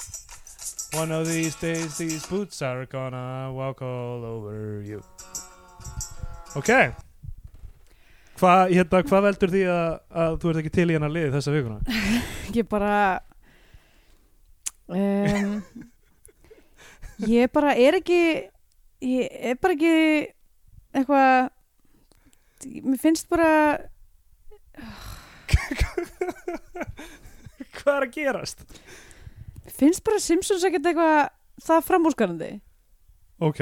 Speaker 2: One of these days these boots are gonna walk all over you Ok Hvað hérna, hva veldur því að, að þú ert ekki til í hennar liði þessa vikuna?
Speaker 3: ég bara um, ég bara er ekki ég er bara ekki eitthvað mér finnst bara
Speaker 2: Hvað er að gerast?
Speaker 3: mér finnst bara Simpsons ekkert eitthvað það framúrskarandi
Speaker 2: Ok,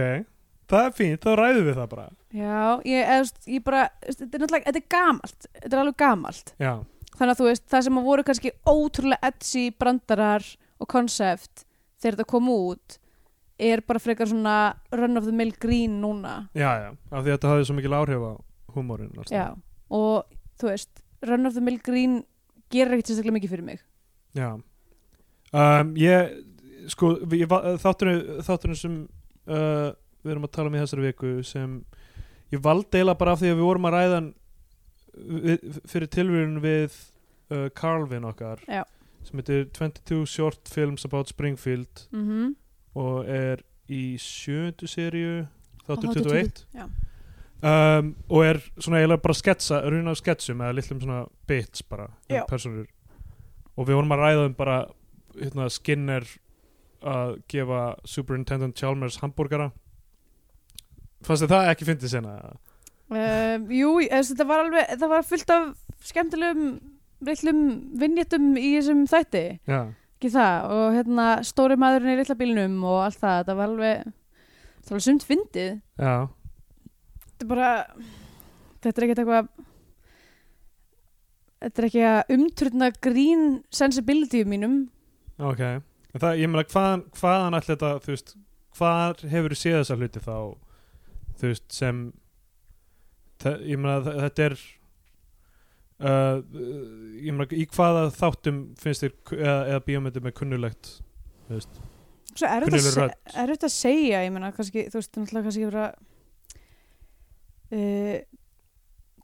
Speaker 2: það er fínt, þá ræðum við það bara
Speaker 3: já, ég, eða, þú veist, ég bara þú veist, þetta er náttúrulega, þetta er gamalt þetta er alveg gamalt
Speaker 2: Já,
Speaker 3: þannig að þú veist, það sem að voru kannski ótrúlega edsi brandarar og konsept þegar þetta kom út er bara frekar svona run of the mill green núna
Speaker 2: já, já, af því að þetta hafði svo mikil áhrif á húmórinn
Speaker 3: Já, og þú veist Run of the Mill Green gerir ekkert sérstaklega mikið fyrir mig
Speaker 2: Já um, Ég, sko ég, va- þátturinn, þátturinn sem uh, við erum að tala um í þessari viku sem ég valdi eila bara af því að við vorum að ræða hann við, fyrir tilvíðun við uh, Carlvin okkar
Speaker 3: Já.
Speaker 2: sem heitir 22 Short Films About Springfield
Speaker 3: mm -hmm.
Speaker 2: og er í sjöndu seríu þáttur
Speaker 3: Og þáttur
Speaker 2: 21
Speaker 3: já.
Speaker 2: um, og er svona eiginlega bara sketsa runa af sketsum eða litlum svona bits bara
Speaker 3: Já.
Speaker 2: um persónur og við vorum að ræða um bara hérna, skinner að gefa Superintendent Chalmers hambúrgara fannst þið það ekki fyndið sena
Speaker 3: Ehm, Jú, eða, þetta var alveg það var fullt af skemmtilegum villum vinnjættum í þessum þætti
Speaker 2: já,
Speaker 3: ekki það, og hérna stóri maðurinn í litla bílnum og allt það, það var alveg það var alveg sumt fyndið
Speaker 2: já,
Speaker 3: þetta er bara þetta er ekkert eitthvað þetta er ekki að umturna green sensibility mínum
Speaker 2: ok En það, ég meina hvaðan, hvaðan allir þetta þú veist, hvar hefur séð þessa hluti þá þú veist sem það, ég meina þa- þetta er uh, ég meina í hvaða þáttum finnst þér ku- eða, eða bíómyndum er kunnulegt
Speaker 3: Svo er þetta
Speaker 2: Kunnugleg rödd.
Speaker 3: er þetta að segja, ég meina, kannski, þú veist, náttúrulega kannski vera uh,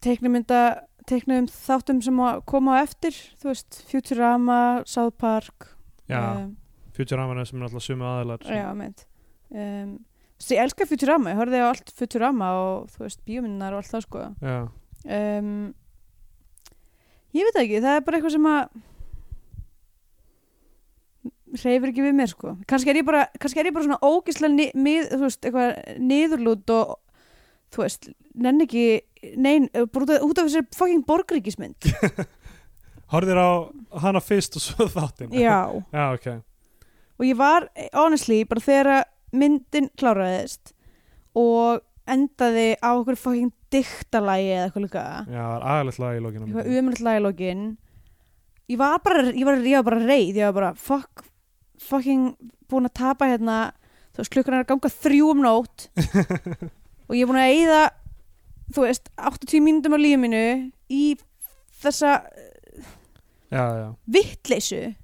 Speaker 3: teiknumynda, teiknum þáttum sem að koma á eftir, þú veist, Futurama, South Park,
Speaker 2: já, uh,
Speaker 3: um,
Speaker 2: Futurama sem er alltaf sumu aðilar sem,
Speaker 3: já, meint. Um, þessi, ég elska Futurama, ég horfði á allt Futurama og, þú veist, bíómyndunar og allt það, sko.
Speaker 2: já,
Speaker 3: Um, ég veit það ekki, það er bara eitthvað sem að hreyfir ekki við mér sko kannski er ég bara, kannski er ég bara svona ógislega ni, mið, þú veist, eitthvað niðurlút og þú veist, nenn ekki nein, bara út af, út af þessari fucking borgríkismynd
Speaker 2: horfðir á hana fyrst og svo þáttin
Speaker 3: já,
Speaker 2: já, ok,
Speaker 3: og ég var eh, honestly, bara þegar að myndin kláraðist og endaði á okkur fucking dyktalægi eða eitthvað líka
Speaker 2: já, það er aðalegt lag í lokinu
Speaker 3: eitthvað umröldlega í lokin ég var bara, ég var, ég var bara reið ég var bara fuck, fucking búin að tapa hérna þú veist klukkan er að ganga þrjú um nótt og ég er búin að eyða þú veist, 80 mínútum á lífi mínu í þessa
Speaker 2: já, já
Speaker 3: vittleysu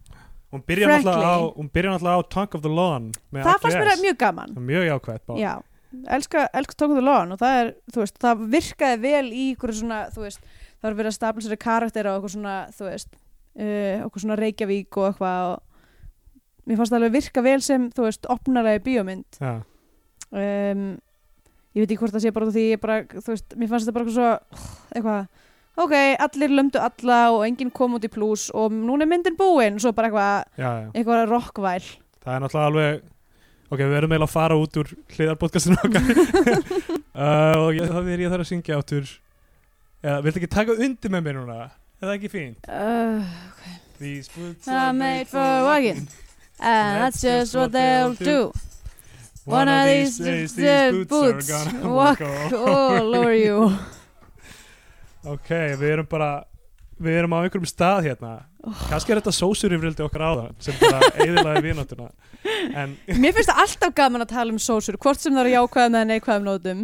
Speaker 2: Hún byrjar
Speaker 3: Frankly.
Speaker 2: náttúrulega á, hún byrjar náttúrulega á Tongue of the Lawn með
Speaker 3: það fannst mér
Speaker 2: AGS.
Speaker 3: mjög gaman
Speaker 2: Það er mjög jákvætt bá.
Speaker 3: já, elska, elska tókuðu lón og það er, þú veist, það virkaði vel í ykkur svona, þú veist það var verið að stapla sér karakter og eitthvað svona, þú veist uh, okkur svona Reykjavík og eitthvað og mér fannst það alveg virka vel sem, þú veist, opnarlega bíómynd
Speaker 2: Já.
Speaker 3: um, ég veit ekki hvort það sé bara út af því ég bara, þú veist, mér fannst þetta bara eitthvað svo, eitthvað ok, allir lömdu alla og enginn kom út í plús og núna er myndin búin, svo bara eitthvað
Speaker 2: Já, já.
Speaker 3: eitthvað rockvæl
Speaker 2: Það er náttúrulega alveg Ok, við verðum eiginlega að fara út úr hliðarpodcastinu okkar uh, og ég, það er ég þarf að syngja áttur eða, viltu ekki taka undir með mér núna? Er það ekki fínt?
Speaker 3: uh,
Speaker 2: These boots
Speaker 3: are made for walking and that's just what they'll do One of these days these boots walk all over you
Speaker 2: Ok, við erum bara við erum á einhverjum stað hérna
Speaker 3: Oh.
Speaker 2: kannski er þetta sósurifrildi okkar á það sem bara eiginlega vináttuna en
Speaker 3: Mér finnst það alltaf gaman að tala um sósur hvort sem það eru jákvæðum eða neikvæðum nótum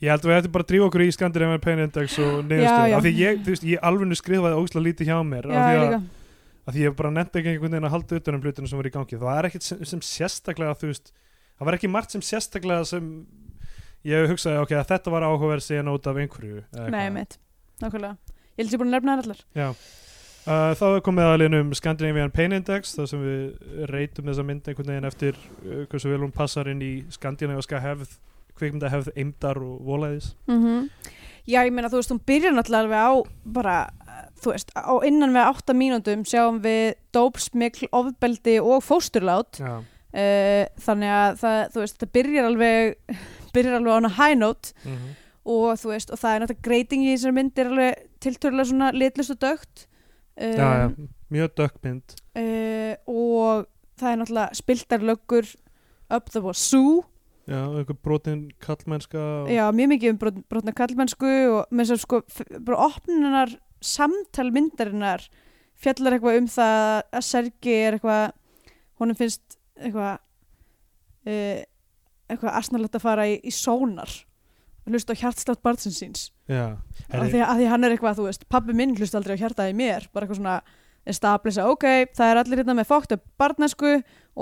Speaker 2: Ég held að við ættum bara að drífa okkur í Scandinavian Pain Index og
Speaker 3: Já, já.
Speaker 2: niðurstöðu af því ég, þú veist, ég alveg skrifaði ógislega lítið hjá mér af því,
Speaker 3: líka.
Speaker 2: að, af því ég bara nefndi ekki einhvern veginn að halda utan um hlutinu sem var í gangi það er ekkert sem, sem sérstaklega þú veist, það var ekki margt sem sérstaklega sem ég hugsaði ok, að þetta var áhugaverð síðan út af einhverju eða
Speaker 3: Nei,
Speaker 2: eitthvað.
Speaker 3: mitt, nákvæmlega Ég held að ég búin að nefna þær allar
Speaker 2: Já. Uh, þá er komið aðalinn um Scandinavian Pain Index þar sem við reytum þessa mynd einhvern veginn eftir uh, hversu vel hún passar inn í skandinaviska hefð kvikmynda hefð eimdar og volæðis
Speaker 3: Já, ég meina, þú veist, hún byrjar náttúrulega alveg á bara, þú veist, á innan við átta mínúndum sjáum við dópsmikl, ofbeldi og fósturlát
Speaker 2: Já,
Speaker 3: uh, þannig að það, þú veist, það byrjar alveg byrjar alveg á hana high note
Speaker 2: mm
Speaker 3: og þú veist, og það er náttúrulega greiting í þessari mynd er alveg tiltölulega svona litlust og dögt um,
Speaker 2: já, já. mjög dökkmynd
Speaker 3: Uh, og það er náttúrulega spiltarlöggur up the wazoo
Speaker 2: Já, einhver brotin kallmennska og...
Speaker 3: já, mjög mikið um brot, brotna kallmennsku og með þess að sko f- bara opnunar samtal myndarinnar fjallar eitthvað um það að Sergi er eitthvað honum finnst eitthvað uh, eitthvað asnalegt að fara í, í sónar hlusta á hjartslátt barnsins síns
Speaker 2: Já,
Speaker 3: af
Speaker 2: Herri,
Speaker 3: því, af því hann er eitthvað, þú veist, pabbi minn hlust aldrei á hjartaði í mér, bara eitthvað svona establisa, ok, það er allir hérna með fókt upp barnesku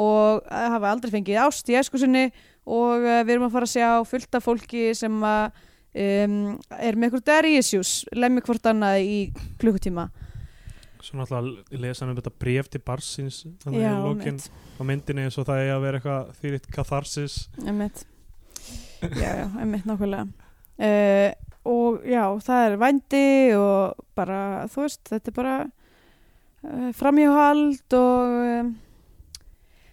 Speaker 3: og eh, hafa aldrei fengið ást í esku sinni og uh, við erum að fara að sjá fullt af fólki sem að um, er með eitthvað daddy issues, lemmi hvort annað í klukkutíma
Speaker 2: svo náttúrulega lesa hann um þetta bref til barsins þannig
Speaker 3: Já,
Speaker 2: í lokin
Speaker 3: einmitt.
Speaker 2: á myndinni eins og það er að vera eitthvað þýritt katharsis
Speaker 3: Einmitt. Já, já, einmitt nákvæmlega. Uh, og já, það er vændi og bara, þú veist, þetta er bara uh, framhjóhald og um,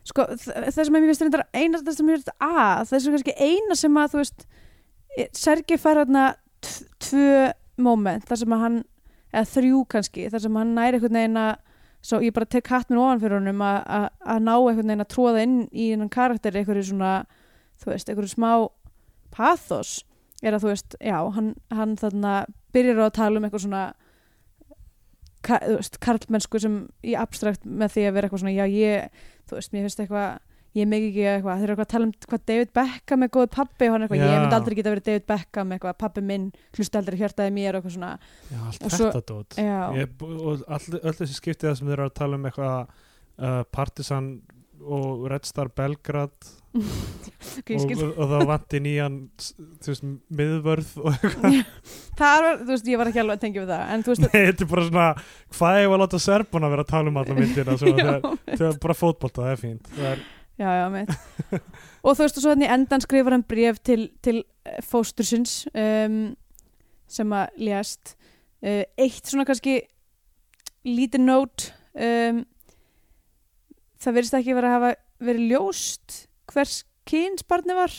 Speaker 3: sko, þ- það sem ég veist reyndar eina, það sem ég veist að, það sem kannski eina sem að, þú veist, e- Sergi fær hérna tv- tvö moment, þar sem að hann, eða þrjú kannski, þar sem hann næri einhvern veginn að svo ég bara tek hatt minn ofan fyrir honum að- að að ná einhvern veginn að tróða inn í einhvern karakter einhverju svona þú veist, einhverju smá pathos er að þú veist, já, hann, hann þarna byrjar á að tala um eitthvað svona ka, þú veist, karlmennsku sem í abstrakt með því að vera eitthvað svona, já, ég, þú veist, mér finnst eitthvað ég megi ekki eitthvað, þeir eru eitthvað að tala um hvað David Beckham er góð pappi og hann er eitthvað, ég
Speaker 2: Já.
Speaker 3: myndi aldrei geta verið David Beckham eitthvað, pappi minn hlusta aldrei hjartaði mér og eitthvað svona
Speaker 2: Já, allt
Speaker 3: Og
Speaker 2: þetta
Speaker 3: svo-
Speaker 2: dót
Speaker 3: já,
Speaker 2: Ég, og all, öll þessi skiptið það sem þeir eru að tala um eitthvað uh, partisan og Red Star Belgrad
Speaker 3: ok, ég
Speaker 2: og,
Speaker 3: skil
Speaker 2: og, og það vanti nýjan s- þú veist, miðvörð og
Speaker 3: það var, þú veist, ég var ekki alveg að tengja við það en þú veist,
Speaker 2: þetta er bara svona hvað hefur að láta serbana vera að tala um alla myndina svo,
Speaker 3: já,
Speaker 2: þegar, þegar bara fótbolta, það er fínt það er,
Speaker 3: já, já, mitt og þú veist, og svo þannig endan skrifar hann bref til, til eh, fóstursins um, sem að lést uh, eitt svona kannski lítið nót um, það verðist ekki verið að hafa verið ljóst hvers kyns barni var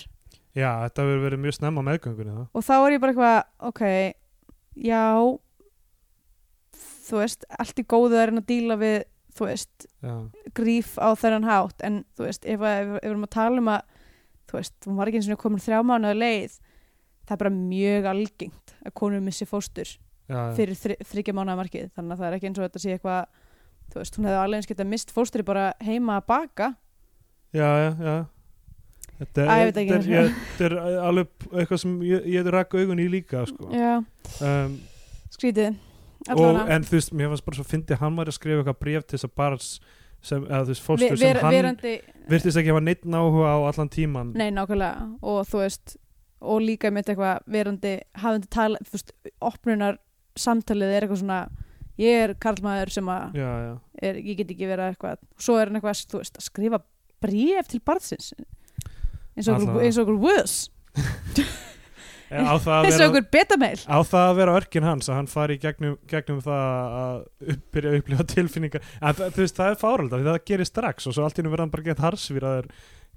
Speaker 2: já, þetta hefur verið mjög snemma á meðgöngunni það
Speaker 3: og þá er ég bara eitthvað ok, já þú veist, allt í góðu er en að díla við, þú veist
Speaker 2: já,
Speaker 3: gríf á þennan hátt en þú veist, ef, að, ef, ef við erum að tala um að þú veist, hún var ekki eins og komin þrjá mánuða leið það er bara mjög algengt að konur missi fóstur
Speaker 2: já, já.
Speaker 3: fyrir þri, þryggja mánuða markið þannig að það er ekki eins og þetta sé eitthvað þú veist, hún hefði alveg eins getað mist fóstri bara heima að baka
Speaker 2: já, já, já. Þetta,
Speaker 3: Æ,
Speaker 2: er,
Speaker 3: ég veit ekki
Speaker 2: þetta, er, ég, þetta er alveg eitthvað sem ég, ég rak augun í líka sko.
Speaker 3: já,
Speaker 2: um,
Speaker 3: skrítið
Speaker 2: og,
Speaker 3: allavega
Speaker 2: en þú veist, mér fannst bara svo fyndi hann var að skrifa eitthvað bréf til þess að bara sem, eða þú veist,
Speaker 3: Ve-
Speaker 2: fóstur
Speaker 3: ver,
Speaker 2: sem hann
Speaker 3: verandi,
Speaker 2: virtist ekki hafa neitt náhuga á allan tíman
Speaker 3: nei nákvæmlega og þú veist, og líka mitt eitthvað verandi hafandi tala, þú veist, opnunar samtalið er eitthvað svona ég er karlmaður sem að
Speaker 2: já, já.
Speaker 3: er, ég get ekki verið eitthvað svo er hann eitthvað þú veist, að skrifa bréf til barnsins eins og
Speaker 2: Alla-
Speaker 3: okkur, eins og okkur vöðs
Speaker 2: En Á það,
Speaker 3: eins
Speaker 2: að
Speaker 3: og
Speaker 2: vera,
Speaker 3: okkur betameil
Speaker 2: á það að vera örkin hans að hann fari í gegnum, gegnum það að upp- byrja að upplifa tilfinningar en það, þú veist, það er fáröld það gerir strax og svo allt í hennu verða hann bara gett harsvíraður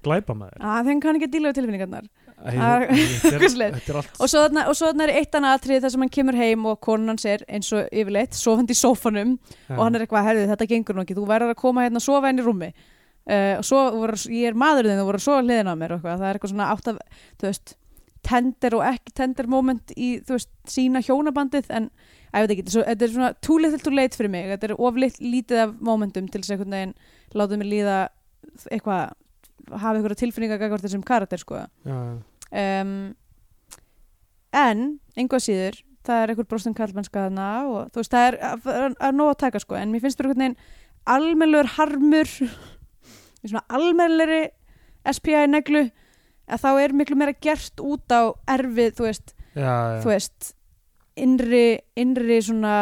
Speaker 2: glæpamaður
Speaker 3: að þeim kann ekki að díla við tilfinningarnar
Speaker 2: Æ,
Speaker 3: Ah,
Speaker 2: ég- ég- þetta
Speaker 3: eitthvað
Speaker 2: er-
Speaker 3: svoleiðis.
Speaker 2: þetta er allt
Speaker 3: og svo þarna, og svo þarna er eitt annað atrið þar sem hann kemur heim og konan hans er eins og yfirleitt sofandi í sófanum og hann er eitthvað, herðu þetta gengur nú ekki, þú verður að koma hérna að sofa inn í rúmi uh, og svo voru, ég er maður þinn, þú voru að sofa hliðin á mér og eitthvað, það er eitthvað svona átt af, þú veist tender og ekki tender moment í, þú veist, sína hjónabandið en að ég veit ekki, svo, þetta er svona too little too late fyrir mig, þetta er of lit, lítið af momentum til þess að einhvern veginn láta mig líða eitthvað, hafa einhverja tilfinninga gagvart þessum karakter, sko
Speaker 2: já, já.
Speaker 3: um, en einhvað síður, það er einhver brostin kallmennska þarna og þú veist, það er að, að, að nóg að taka sko, en mér finnst bara einhvern veginn almennlegur harmur í svona almennlegri SPI neglu að þá er miklu meira gert út á erfið, þú veist,
Speaker 2: Já, já.
Speaker 3: þú veist innri, innri svona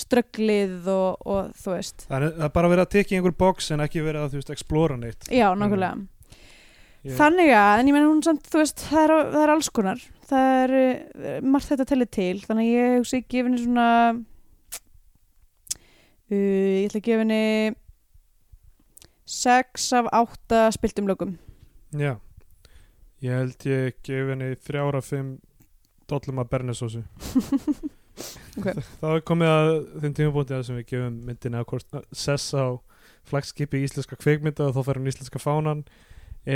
Speaker 3: strögglið og, og þú veist
Speaker 2: Það er, það er bara verið að tekja einhver box en ekki verið að, þú veist, explora neitt.
Speaker 3: já, nákvæmlega
Speaker 2: Ég-
Speaker 3: Þannig að, en ég meina hún samt, þú veist, það er, það er alls konar. Það er eh, margt þetta að telli til, þannig að ég hugsi gefa henni svona, uh, ég ætla að gefa henni 6 af 8 spiltum lögum.
Speaker 2: Já. Ég held ég gef henni þrjára fimm dollum að bernesósu.
Speaker 3: Ok.
Speaker 2: Þá er komið að þeim tímabúndi að sem við gefum myndinni að hvort sess á flagskipi íslenska kveikmynda og þá fer hún íslenska fánan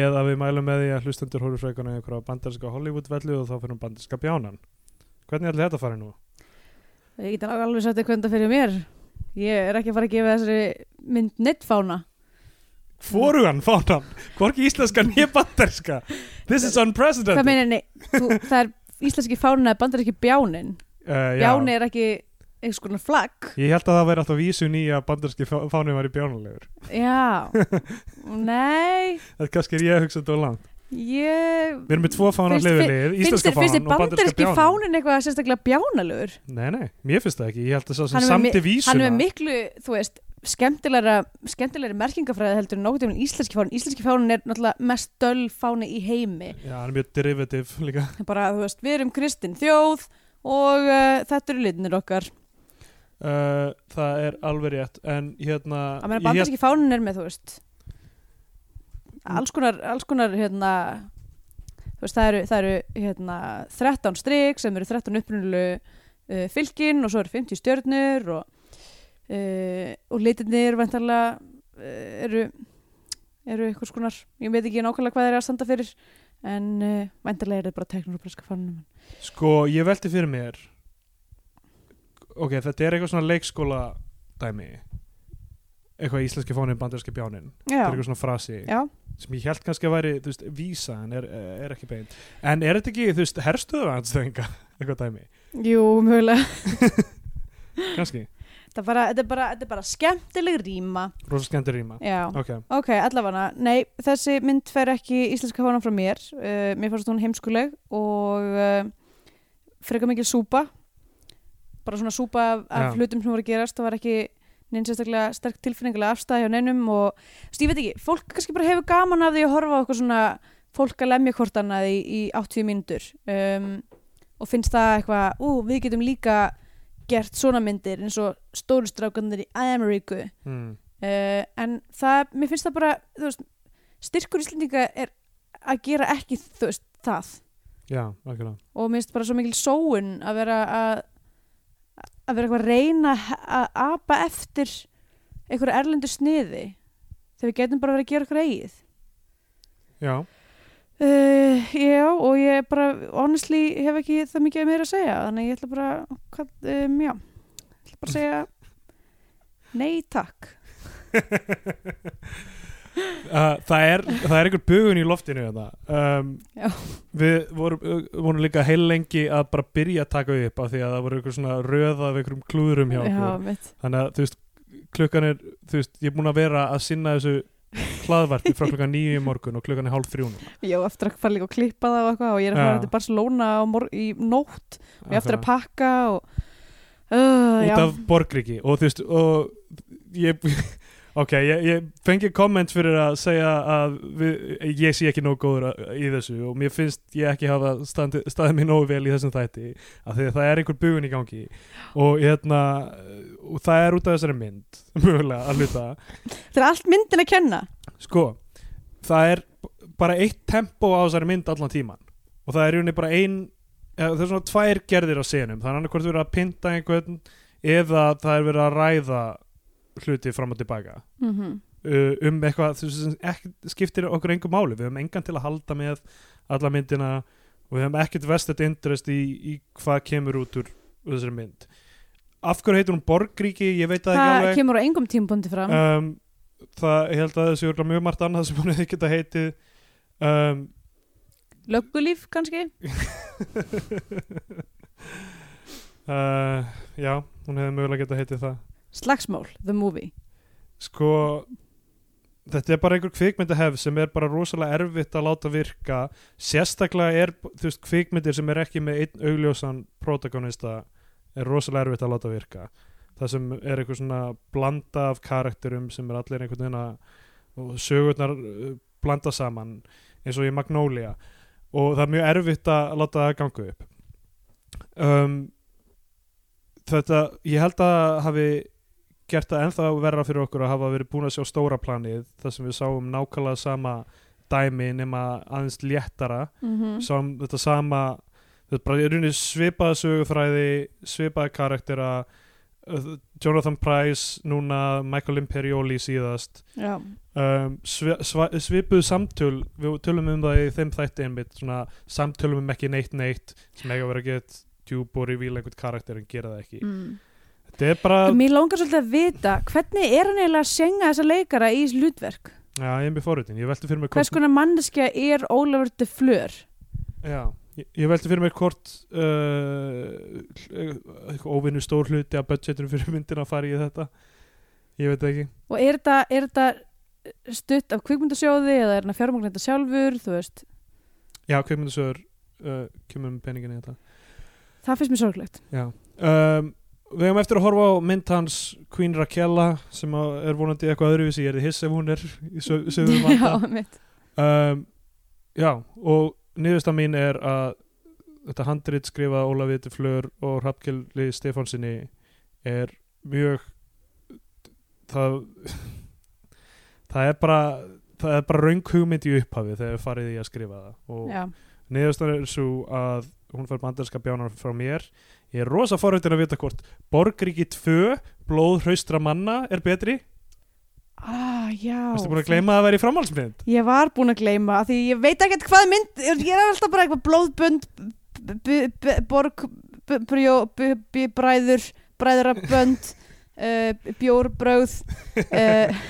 Speaker 2: eða við mælum með því að hlustendur horfur frækuna í einhverja bandarska Hollywood-vellu og þá fer hún bandarska bjánan. Hvernig ætli þetta að fara nú?
Speaker 3: Ég get alveg sagt eitthvað þetta fyrir mér. Ég er ekki að fara að gefa þessari mynd nettfána.
Speaker 2: Hvorugan fánan? Hvorki íslenska nýja bandarska? This is unprecedented.
Speaker 3: Hvað meina, nei, þú, það er íslenski fána eða bandar ekki bjánin.
Speaker 2: Uh,
Speaker 3: Bjáni er ekki einhvers konar flagg.
Speaker 2: Ég held að það væri alltaf vísun í að bandarski fánum væri bjánulegur.
Speaker 3: Já, nei,
Speaker 2: Þetta kannski er ég að hugsa þetta á langt.
Speaker 3: ég...
Speaker 2: Við erum með tvo fánar
Speaker 3: Finnst-
Speaker 2: hlifilið,
Speaker 3: finnst
Speaker 2: íslenska
Speaker 3: þér-
Speaker 2: fánan og
Speaker 3: Finnst
Speaker 2: bandarski
Speaker 3: þér bandaríski
Speaker 2: bjánan.
Speaker 3: fánin eitthvað sérstaklega bjánalur?
Speaker 2: Nei, nei, mér finnst það ekki. Ég held að sá
Speaker 3: Hann
Speaker 2: sem
Speaker 3: er með
Speaker 2: samti
Speaker 3: mi- Hann
Speaker 2: vísuna.
Speaker 3: er með miklu, þú veist, skemmtilegra, skemmtilegra merkingafræði heldur en nokkuð tímann íslenski fánin. Íslenski fánin er náttúrulega mest döl fáni í heimi.
Speaker 2: Já, hann er mjög derivativ líka.
Speaker 3: Það er Bara, þú veist, við erum kristin þjóð og uh, þetta eru litinir okkar.
Speaker 2: Uh, það er alveg rétt, en hérna...
Speaker 3: Það meina
Speaker 2: ég hélt-
Speaker 3: bandaríski fánin er með, þú veist, alls konar, alls konar, hérna, þú veist, það eru, það eru hérna, 13 strik sem eru 13 upprunnilu uh, fylkin og svo eru 50 stjörnur og, uh, og litinir vantarlega uh, eru, eru einhvers konar, ég veit ekki nákvæmlega hvað þeir eru að standa fyrir en uh, vantarlega eru þeir bara teknur og breska fannum.
Speaker 2: Sko, ég velti fyrir mér. Ok, þetta er eitthvað svona leikskóla dæmi. Eitthvað íslenski fánin, bandarski bjánin.
Speaker 3: Já,
Speaker 2: Þetta er eitthvað svona frasi.
Speaker 3: já,
Speaker 2: sem ég held kannski að væri, þú veist, vísa en er, er ekki beint. En er þetta ekki, þú veist, herstuðu hans eitthvað dæmi,
Speaker 3: jú, mjögulega.
Speaker 2: kannski,
Speaker 3: Þetta er bara, þetta er bara, þetta er bara skemmtileg ríma.
Speaker 2: rosa skemmtur rýma.
Speaker 3: Já.
Speaker 2: Ok,
Speaker 3: Ok, allavega, nei, þessi mynd fer ekki íslenska fánan frá mér, uh, mér fannst hún heimskuleg og uh, frekar mikil súpa, bara svona súpa af, af
Speaker 2: Já.
Speaker 3: hlutum sem voru að gerast, það var ekki neins sérstaklega sterk tilfinningulega afstæði hjá neinum og, þú veist, ég veit ekki, fólk kannski bara hefur gaman af því að horfa á okkur svona fólk að lemja hvort annað í, í 80 mínútur um, og finnst það eitthvað, ú, við getum líka gert svona myndir eins og stóru strákandir í Ameríku
Speaker 2: mm.
Speaker 3: uh, en það, mér finnst það bara þú veist, styrkur Íslendinga er að gera ekki þú veist, það
Speaker 2: já, algjörlega.
Speaker 3: og mér finnst bara svo mikil sóun að vera að að vera eitthvað að reyna að apa eftir einhverju erlendu sniði þegar við getum bara verið að gera okkur eigið
Speaker 2: Já,
Speaker 3: uh, já og ég bara honestly hef ekki það mikið meira að segja þannig að ég ætla bara hvað, um, já, ég ætla bara að segja nei takk
Speaker 2: uh, það er, það er einhver bugun í loftinu þetta. Um,
Speaker 3: Já.
Speaker 2: við vorum, uh, vorum líka heil lengi að bara byrja að taka upp af því að það voru einhver svona röð af einhverjum klúðurum hjá okkur.
Speaker 3: mitt
Speaker 2: Þannig að, þú veist, klukkan er, þú veist, ég er búin að vera að sinna þessu hlaðvarpi frá klukkan nýju í morgun og klukkan er hálf þrjúnum.
Speaker 3: Ég á eftir að fara líka að klippa það og eitthvað og ég er að
Speaker 2: Já.
Speaker 3: fara til Barcelona á mor- í nótt og ég á eftir að pakka og uh, uh,
Speaker 2: út
Speaker 3: já.
Speaker 2: af borgríki og þú veist og ég ok, ég, ég fengi komment fyrir að segja að við, ég sé ekki nóg góður að- í þessu og mér finnst ég ekki hafa standi, staðið mér nógu vel í þessum þætti af því að það er einhver bugun í gangi og hérna og það er út af þessari mynd mjögulega að hluta
Speaker 3: Það er allt myndin að kenna
Speaker 2: sko, það er b- bara eitt tempo á þessari mynd allan tíman og það er í rauninni bara ein eða, það er svona tvær gerðir á senum það er annarkvort verið að pynta einhvern eða það er verið að ræða hluti fram og tilbaka
Speaker 3: mm
Speaker 2: uh, um eitthvað þú veist, sem ekki, skiptir okkur engum máli við höfum engan til að halda með alla myndina og við höfum ekkert vestet interest í, í hvað kemur út úr þessari mynd af hverju heitir hún Borgríki, ég veit það, ekki
Speaker 3: Það
Speaker 2: alveg
Speaker 3: kemur á engum tímpundi fram
Speaker 2: um, það ég held að þessi örgulega mjög margt annað sem hún hefði geta heitið um,
Speaker 3: Löggulíf kannski
Speaker 2: uh, já, hún hefði mögulega geta heitið það
Speaker 3: Slagsmál, the movie
Speaker 2: sko þetta er bara einhver kvikmyndahef sem er bara rosalega erfitt að láta virka sérstaklega er, þú veist, kvikmyndir sem er ekki með einn augljósan protagonista er rosalega erfitt að láta virka það sem er einhver svona blanda af karakterum sem er allir einhvern veginn að og sögurnar uh, blanda saman eins og í Magnolia og það er mjög erfitt að láta það ganga upp um, þetta, ég held að hafi gert það ennþá verra fyrir okkur að hafa verið búin að sjá stóra planið þar sem við sáum nákvæmlega sama dæmi nema aðeins léttara
Speaker 3: mm
Speaker 2: sáum þetta sama þetta er bara í rauninni svipaða sögufræði svipaða karaktera uh, Jonathan Price núna Michael Imperioli síðast
Speaker 3: Já,
Speaker 2: um, svi- sva- svipuð samtöl við tölum um það í þeim þætti einmitt svona samtölum um ekki neitt neitt sem eiga að vera að geta djúb og revíla einhvern karakter en gera það ekki
Speaker 3: mm.
Speaker 2: þetta er bara,
Speaker 3: Mér langar svolítið að vita hvernig er hann eiginlega að senga þessa leikara í hlutverk?
Speaker 2: já ég er mjög fóruðin ég velti fyrir mig
Speaker 3: Hvers konar manneskja er Ólafur de Fleur?
Speaker 2: Já, ég, ég veldi fyrir mér hvort uh, hl- uh, óvinnu stór hluti að budgetinu fyrir myndina fari í þetta ég veit það ekki
Speaker 3: Og er þetta, er þetta stutt af kvikmyndasjóði eða er hann að fjármagna þetta sjálfur, þú veist?
Speaker 2: Já, kveikmyndasögur uh, kemur með peningin í þetta
Speaker 3: Það finnst mér sorglegt.
Speaker 2: Já um, Við hefum eftir að horfa á mynd hans Queen Raquella sem að er vonandi eitthvað öðruvísi ég er þið hiss ef hún er í sö- sögum vanda
Speaker 3: Já, mitt.
Speaker 2: um, Já, og niðursta mín er að þetta handrit skrifað Ólafið Flör og Hrafnkjöli Stefánsinni er mjög það það er bara það er bara raung hugmynd í upphafi þegar við farið í að skrifa það og
Speaker 3: Já.
Speaker 2: niðurstan er svo að hún fær bandarska bjánar frá mér ég er rosa forhundin að vita hvort Borgríki 2, blóð hraustra manna er betri,
Speaker 3: Ah, já.
Speaker 2: erstu búin að gleyma að það væri framhaldsmynd?
Speaker 3: Ég var búin að gleyma af því ég veit ekkert hvað mynd, ég er alltaf bara eitthvað blóðbönd, b- b- b- borg, b- brjó, b- b- bræður, bræðurabönd, uh, bjórbröð, uh,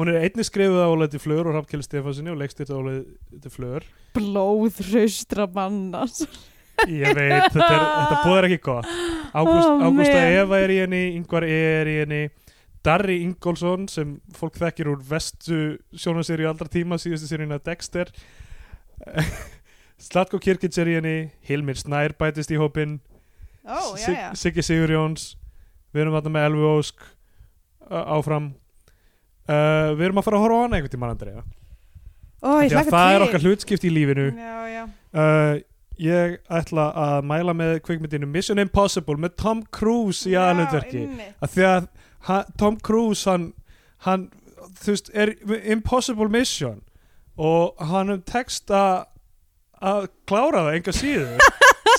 Speaker 2: Hún er einnig skrifuð af Ólaði Flör og Hrafnkjöli Stefansinni og leikstýrt af Ólaði Flör.
Speaker 3: blóð, hraustra mannas.
Speaker 2: Ég veit, þetta, er, þetta bóðar ekki gott. Ágúst,
Speaker 3: Ó,
Speaker 2: Ágústa
Speaker 3: man.
Speaker 2: Eva er í henni, Ingvar E er í henni, Darri Ingolson sem fólk þekkir úr vestu sjónasýri aldra tíma, síðustu sýrina Dexter. Slatko Kirkins er í henni, Hilmir Snær bætist í hópinn,
Speaker 3: Ó, já,
Speaker 2: Sig-
Speaker 3: já.
Speaker 2: Siggi Sigurjóns, við erum þarna með Elvi Ósk uh, áfram. Uh, við erum að fara að horfa á hana einhvern tímann, Andrea.
Speaker 3: Ó, ég
Speaker 2: Því að
Speaker 3: hlaka
Speaker 2: það er
Speaker 3: til.
Speaker 2: okkar hlutskipt í lífinu
Speaker 3: Já, já.
Speaker 2: uh, ég ætla að mæla með kvikmyndinu Mission Impossible með Tom Cruise í
Speaker 3: Já,
Speaker 2: aðlutverki
Speaker 3: einmitt.
Speaker 2: að því að ha, Tom Cruise hann, hann þú veist, er Impossible Mission og hann um text að að klára það enga síður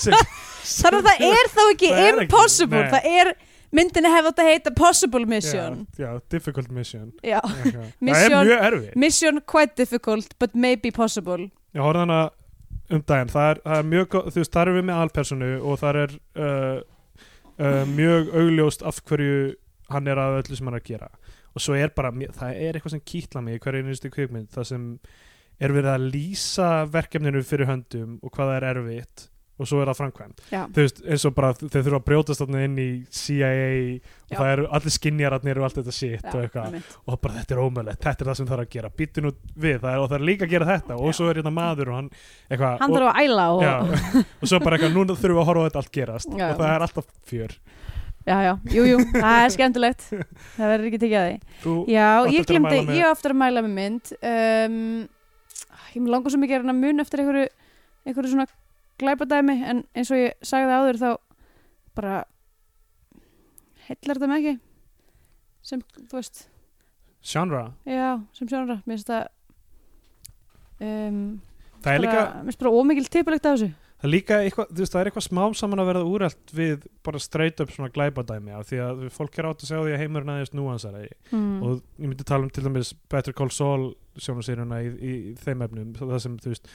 Speaker 2: sem,
Speaker 3: Þannig að það er þá ekki
Speaker 2: Það er ekki,
Speaker 3: impossible,
Speaker 2: nei.
Speaker 3: það er myndinni hefði átt að heita possible mission.
Speaker 2: já, já, difficult mission
Speaker 3: Já.
Speaker 2: eitthvað. það
Speaker 3: Mission-
Speaker 2: er mjög erfið
Speaker 3: Mission quite difficult, but maybe possible.
Speaker 2: Ég horfði hana um daginn það er, það er mjög, gó- þú veist, þar er við með alpersonu og þar er uh, uh, mjög augljóst af hverju hann er að öllu sem hann er að gera og svo er bara, mjö- það er eitthvað sem kýtla mig í hverju einustu kvikmynd, það sem er verið að lýsa verkefninu fyrir höndum og hvað það er erfitt og svo er það framkvæmt,
Speaker 3: Já.
Speaker 2: þú veist, eins og bara þeir þurfa að brjótast þarna inn í CIA og
Speaker 3: Já.
Speaker 2: það eru allir skinjararnir og allt þetta shit
Speaker 3: Já,
Speaker 2: og eitthvað
Speaker 3: einmitt.
Speaker 2: og bara þetta er ómöðlegt, þetta er það sem þarf að gera býttu nú við, það er, og það er líka að gera þetta og
Speaker 3: Já.
Speaker 2: svo er hérna maður og hann eitthvað,
Speaker 3: Hann
Speaker 2: og,
Speaker 3: þarf að æla og...
Speaker 2: já, og svo bara eitthvað, núna þurfum við að horfa á þetta allt gerast
Speaker 3: Já.
Speaker 2: og það er alltaf fjör
Speaker 3: já, já, jú, jú, það er skemmtilegt það verður ekki tekið að því
Speaker 2: Þú,
Speaker 3: Já,
Speaker 2: Átt
Speaker 3: ég
Speaker 2: eftir að
Speaker 3: glemdi,
Speaker 2: mæla með-
Speaker 3: ég á eftir að mæla með mynd um, Ég mig langar svo mikið að reyna að mun eftir einhverju, einhverju svona glæpadæmi en eins og ég sagði áður þá bara heillar þetta mig ekki sem, þú veist,
Speaker 2: genre.
Speaker 3: já, sem sjónara Mér finnst það um,
Speaker 2: Það er líka,
Speaker 3: bara, Mér finnst bara ómikil tipulegt af þessu
Speaker 2: það er líka eitthvað, þú veist, það er eitthvað smám saman að verða úrælt við bara straight up svona glæpadæmi af því að fólk er átt að segja því að heimurinn aðeins núansar eigi.
Speaker 3: mm.
Speaker 2: og ég myndi tala um til dæmis Better Call Saul sjónasýruna í, í þeim efnum það sem þú veist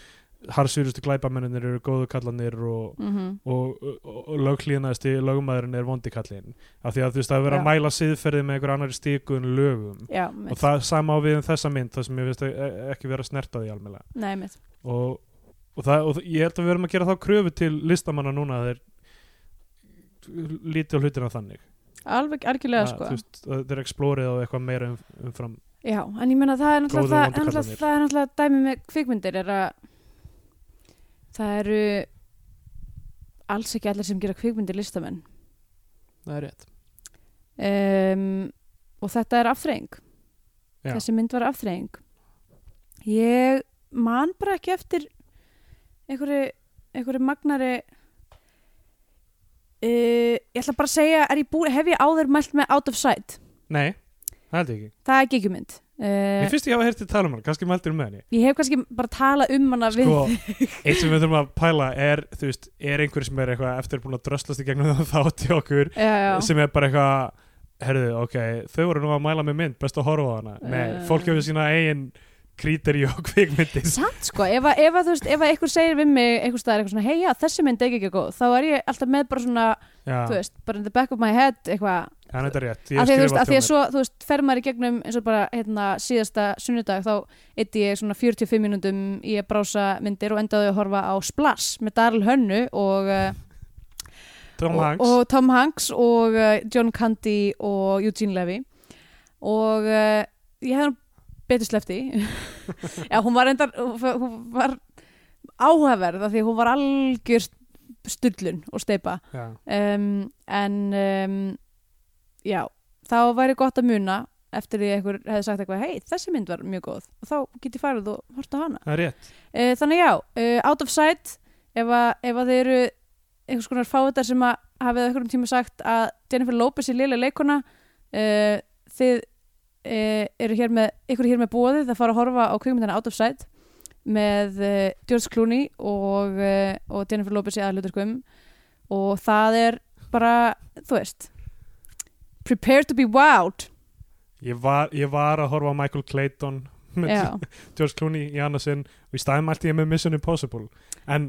Speaker 2: harsýrustu glæpamennir eru góðu kallanir og,
Speaker 3: mm -hmm.
Speaker 2: og, og, og lögklínasti lögumæðurinn er vondi kallin af því að þú veist að vera
Speaker 3: Já.
Speaker 2: að mæla siðferði með einhver annar stíku en lögum
Speaker 3: Já, mitt,
Speaker 2: og það er sama á við um þessa mynd það sem ég veist e- ekki vera snertað í almela
Speaker 3: nei, mitt
Speaker 2: og, og, það, og ég held að við verum að gera þá kröfu til listamanna núna að þeir lítið á hlutina þannig
Speaker 3: Alveg algjörlega
Speaker 2: Að,
Speaker 3: sko
Speaker 2: Ah, þú veist, að þeir explórið á eitthvað meira um, umfram
Speaker 3: Já, en ég meina það er náttúrulega,
Speaker 2: Góðu
Speaker 3: það,
Speaker 2: og vondu
Speaker 3: er náttúrulega,
Speaker 2: kallarnir.
Speaker 3: það er náttúrulega dæmi með kvikmyndir er að það eru alls ekki allir sem gera kvikmyndir listamenn
Speaker 2: það er rétt
Speaker 3: um, og þetta er afþreying
Speaker 2: Já.
Speaker 3: þessi mynd var afþreying ég man bara ekki eftir einhverju, einhverju magnari uh, ég ætla bara að segja er ég búi, hef ég áður mælt með Out of Sight
Speaker 2: Nei, það held ég ekki.
Speaker 3: það er ekki ekki mynd
Speaker 2: Mér
Speaker 3: uh,
Speaker 2: finnst ég hafa heyrt þér tala um hana, kannski mæltir með henni.
Speaker 3: ég hef kannski bara tala um hana við
Speaker 2: Sko, eitt sem við þurfum að pæla er, þú veist, er einhver sem er eitthvað eftir búin að dröslast í gegnum það þátti okkur,
Speaker 3: já, já.
Speaker 2: sem er bara eitthvað, herðu, ok, þau voru nú að mæla með mynd, best að horfa á hana. Nei,
Speaker 3: Eh.
Speaker 2: fólk hefur sína eigin kríteri og kvikmyndir.
Speaker 3: samt sko, ef að, ef að þú veist ef að einhver segir við mig einhver staðar eitthvað svona hei já, þessi mynd er ekki ekki góð, þá er ég alltaf með bara svona,
Speaker 2: Já,
Speaker 3: þú veist, bara in the back of my head eitthvað,
Speaker 2: hann er rétt. Ég
Speaker 3: af því að
Speaker 2: skrifa
Speaker 3: þú veist, af
Speaker 2: til
Speaker 3: því að
Speaker 2: mér.
Speaker 3: svo, þú veist, fer maður í gegnum eins og bara, hérna, síðasta sunnudag þá eitti ég svona 45 mínúndum í að brása myndir og endaði að horfa á Splash með Darl Hönnu og, uh,
Speaker 2: Tom Hanks,
Speaker 3: og, og Tom Hanks og uh, John Candy og Eugene Levy og uh, ég hefði hann betur slefti já, hún var endar hún var áhugaverð af því að hún var algjör stullun og steipa
Speaker 2: já,
Speaker 3: um, en um, já, þá væri gott að muna eftir því að einhver hefði sagt eitthvað hei, þessi mynd var mjög góð og þá get ég farið og horta hana
Speaker 2: það er rétt.
Speaker 3: Uh, þannig já, uh, out of sight ef að, ef að þið eru einhvers konar fáiðar sem að hafið einhverjum tíma sagt að Jennifer Lopez er liðlega leikona uh, þið uh, eru hér með, ykkur er hér með bóðið að fara að horfa á kvikmyndina out of sight með uh, George Clooney og, uh, og Jennifer Lopez í aðluturkum og það er bara, þú veist prepare to be wowed
Speaker 2: Ég var, ég var að horfa á Michael Clayton með
Speaker 3: já,
Speaker 2: George Clooney í annarsinn og í staðum allt ég með Mission Impossible en,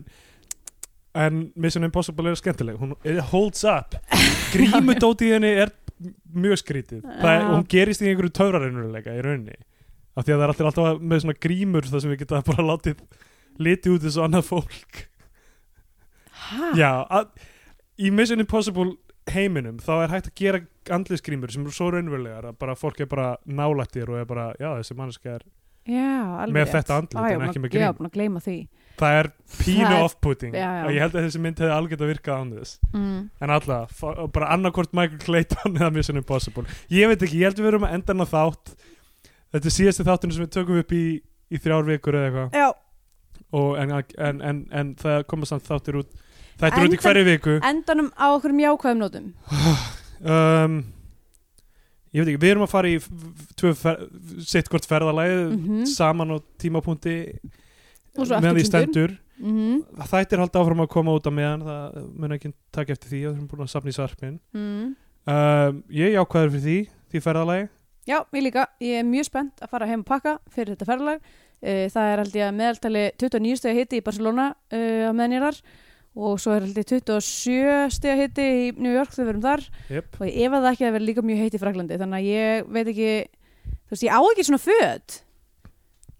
Speaker 2: en Mission Impossible er skemmtileg, hún it holds up grímudóti í henni er mjög skrítið, það er,
Speaker 3: Já.
Speaker 2: hún gerist í einhverju töfrarinnurleika í rauninni af því að það er allir alltaf með svona grímur þar sem við geta bara látið litið út þessu annað fólk
Speaker 3: ha,
Speaker 2: Já, að, í Mission Impossible heiminum þá er hægt að gera andlisgrímur sem eru svo raunverulegar að bara fólk er bara nálættir og er bara, já þessi mannska er
Speaker 3: já alveg
Speaker 2: Með
Speaker 3: rétt.
Speaker 2: þetta andlit,
Speaker 3: Á, já,
Speaker 2: en
Speaker 3: búin
Speaker 2: ekki
Speaker 3: að-
Speaker 2: með grím.
Speaker 3: já, búin að gleyma því
Speaker 2: það er pínu
Speaker 3: Það er-
Speaker 2: off-putting
Speaker 3: Já, já.
Speaker 2: og ég held að þessi mynd hefði algjörð að virka án þess
Speaker 3: mm.
Speaker 2: en alla, fa- bara annarkvort Michael Clayton eða Mission Impossible ég veit ekki, ég held við erum að enda hann á þátt þetta er síðasti þáttunum sem við tökum upp í, í þrjár vikur eða eitthvað
Speaker 3: já,
Speaker 2: Og en, en, en, en það koma samt þáttir út þættir út í
Speaker 3: Enda-
Speaker 2: hverju viku
Speaker 3: endanum á okkur jákvæðum nótum
Speaker 2: um, ég veit ekki, við erum að fara í f- f- tvö fer, sitt hvort ferðalagið
Speaker 3: Mhm.
Speaker 2: saman á tímapunkti
Speaker 3: Og svo
Speaker 2: meðan
Speaker 3: aftur
Speaker 2: því
Speaker 3: sundur.
Speaker 2: stendur
Speaker 3: mm -hmm.
Speaker 2: þættir halda áfram að koma út á meðan það mun ekki taka eftir því að við erum búin að safna í sarpin
Speaker 3: mm.
Speaker 2: um, ég er jákvæður fyrir því því ferðalagi
Speaker 3: já, ég líka, ég er mjög spennt að fara heim og pakka fyrir þetta ferðlag uh, það er held ég að meðaltali 29 steg hiti í Barcelona uh, á meðan ég er þar og svo er held ég 27 steg hiti í New York þegar við erum þar
Speaker 2: yep.
Speaker 3: og ég efa það ekki að vera líka mjög heiti í Fraklandi þannig að ég veit ekki þú veist, ég á ekki svona föt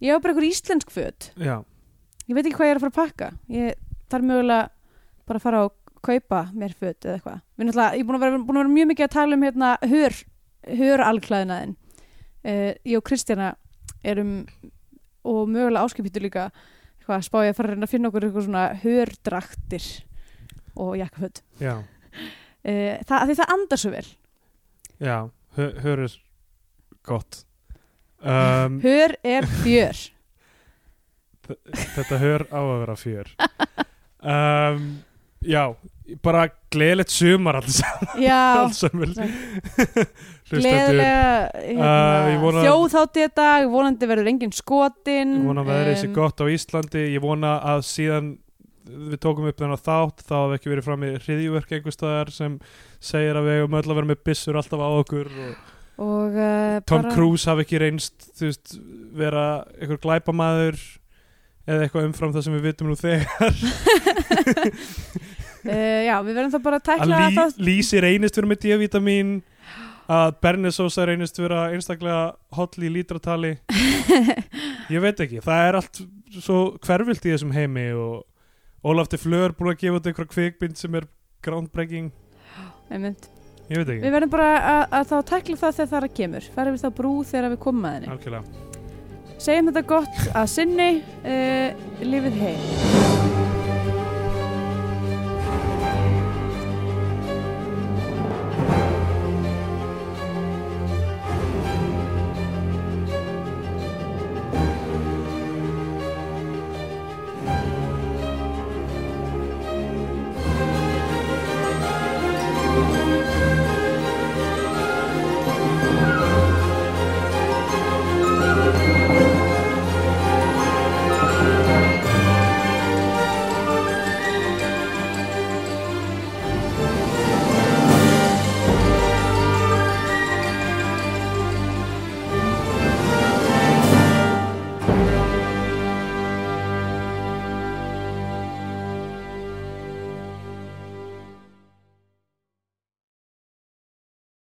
Speaker 3: ég á bara einhver íslensk föt
Speaker 2: já,
Speaker 3: ég veit ekki hvað ég er að fara að pakka ég þarf mögulega bara að fara að kaupa mér föt eða eitthvað Við náttúrulega- ég er búin að, vera, búin að vera mjög mikið að tala um hérna, hör, hör alklæðinaðin uh, ég og Kristjana erum og mögulega áskipítur líka eitthvað, spá ég að fara að reyna að finna okkur eitthvað svona hördraktir og jakkaföt
Speaker 2: já,
Speaker 3: uh, það, af því það andar svo vel
Speaker 2: Já, hö- hör er gott um,
Speaker 3: hör er fjör
Speaker 2: Þetta hör á að vera fjör um, Já, bara gleðilegt sumar alls,
Speaker 3: já,
Speaker 2: alls sem vil
Speaker 3: takk.
Speaker 2: Hlustendur,
Speaker 3: gleðilega
Speaker 2: Uh, ég
Speaker 3: hérna,
Speaker 2: vona-
Speaker 3: þjóðhátti í dag vonandi verður engin skotin
Speaker 2: ég vona að veðrið sé
Speaker 3: em,
Speaker 2: gott á Íslandi Ég vona að síðan við tókum upp þennan þátt þá hafði ekki verið fram í hriðjúverk einhverstaðar sem segir að við hefum öll að vera með byssur alltaf á okkur og
Speaker 3: og uh,
Speaker 2: Tom
Speaker 3: bara,
Speaker 2: Cruise hafi ekki reynst þú veist, vera einhver glæpamaður eða eitthvað umfram það sem við vitum nú þegar
Speaker 3: uh, já, við verðum það bara að
Speaker 2: að
Speaker 3: tækla
Speaker 2: lí,
Speaker 3: það
Speaker 2: lýsi reynist vera með D-vitamin að bernesósa reynist vera einstaklega hotli í lítratali ég veit ekki, það er allt svo hverfilt í þessum heimi og Ólaf til Flör búin að gefa út einhver kvikmynd sem er groundbreaking
Speaker 3: einmitt.
Speaker 2: ég veit ekki,
Speaker 3: við verðum bara að, að þá tækla það þegar það kemur verðum við þá brú þegar við komum að henni
Speaker 2: algjörlega
Speaker 3: segjum þetta gott að sinni uh, eh, lifið heim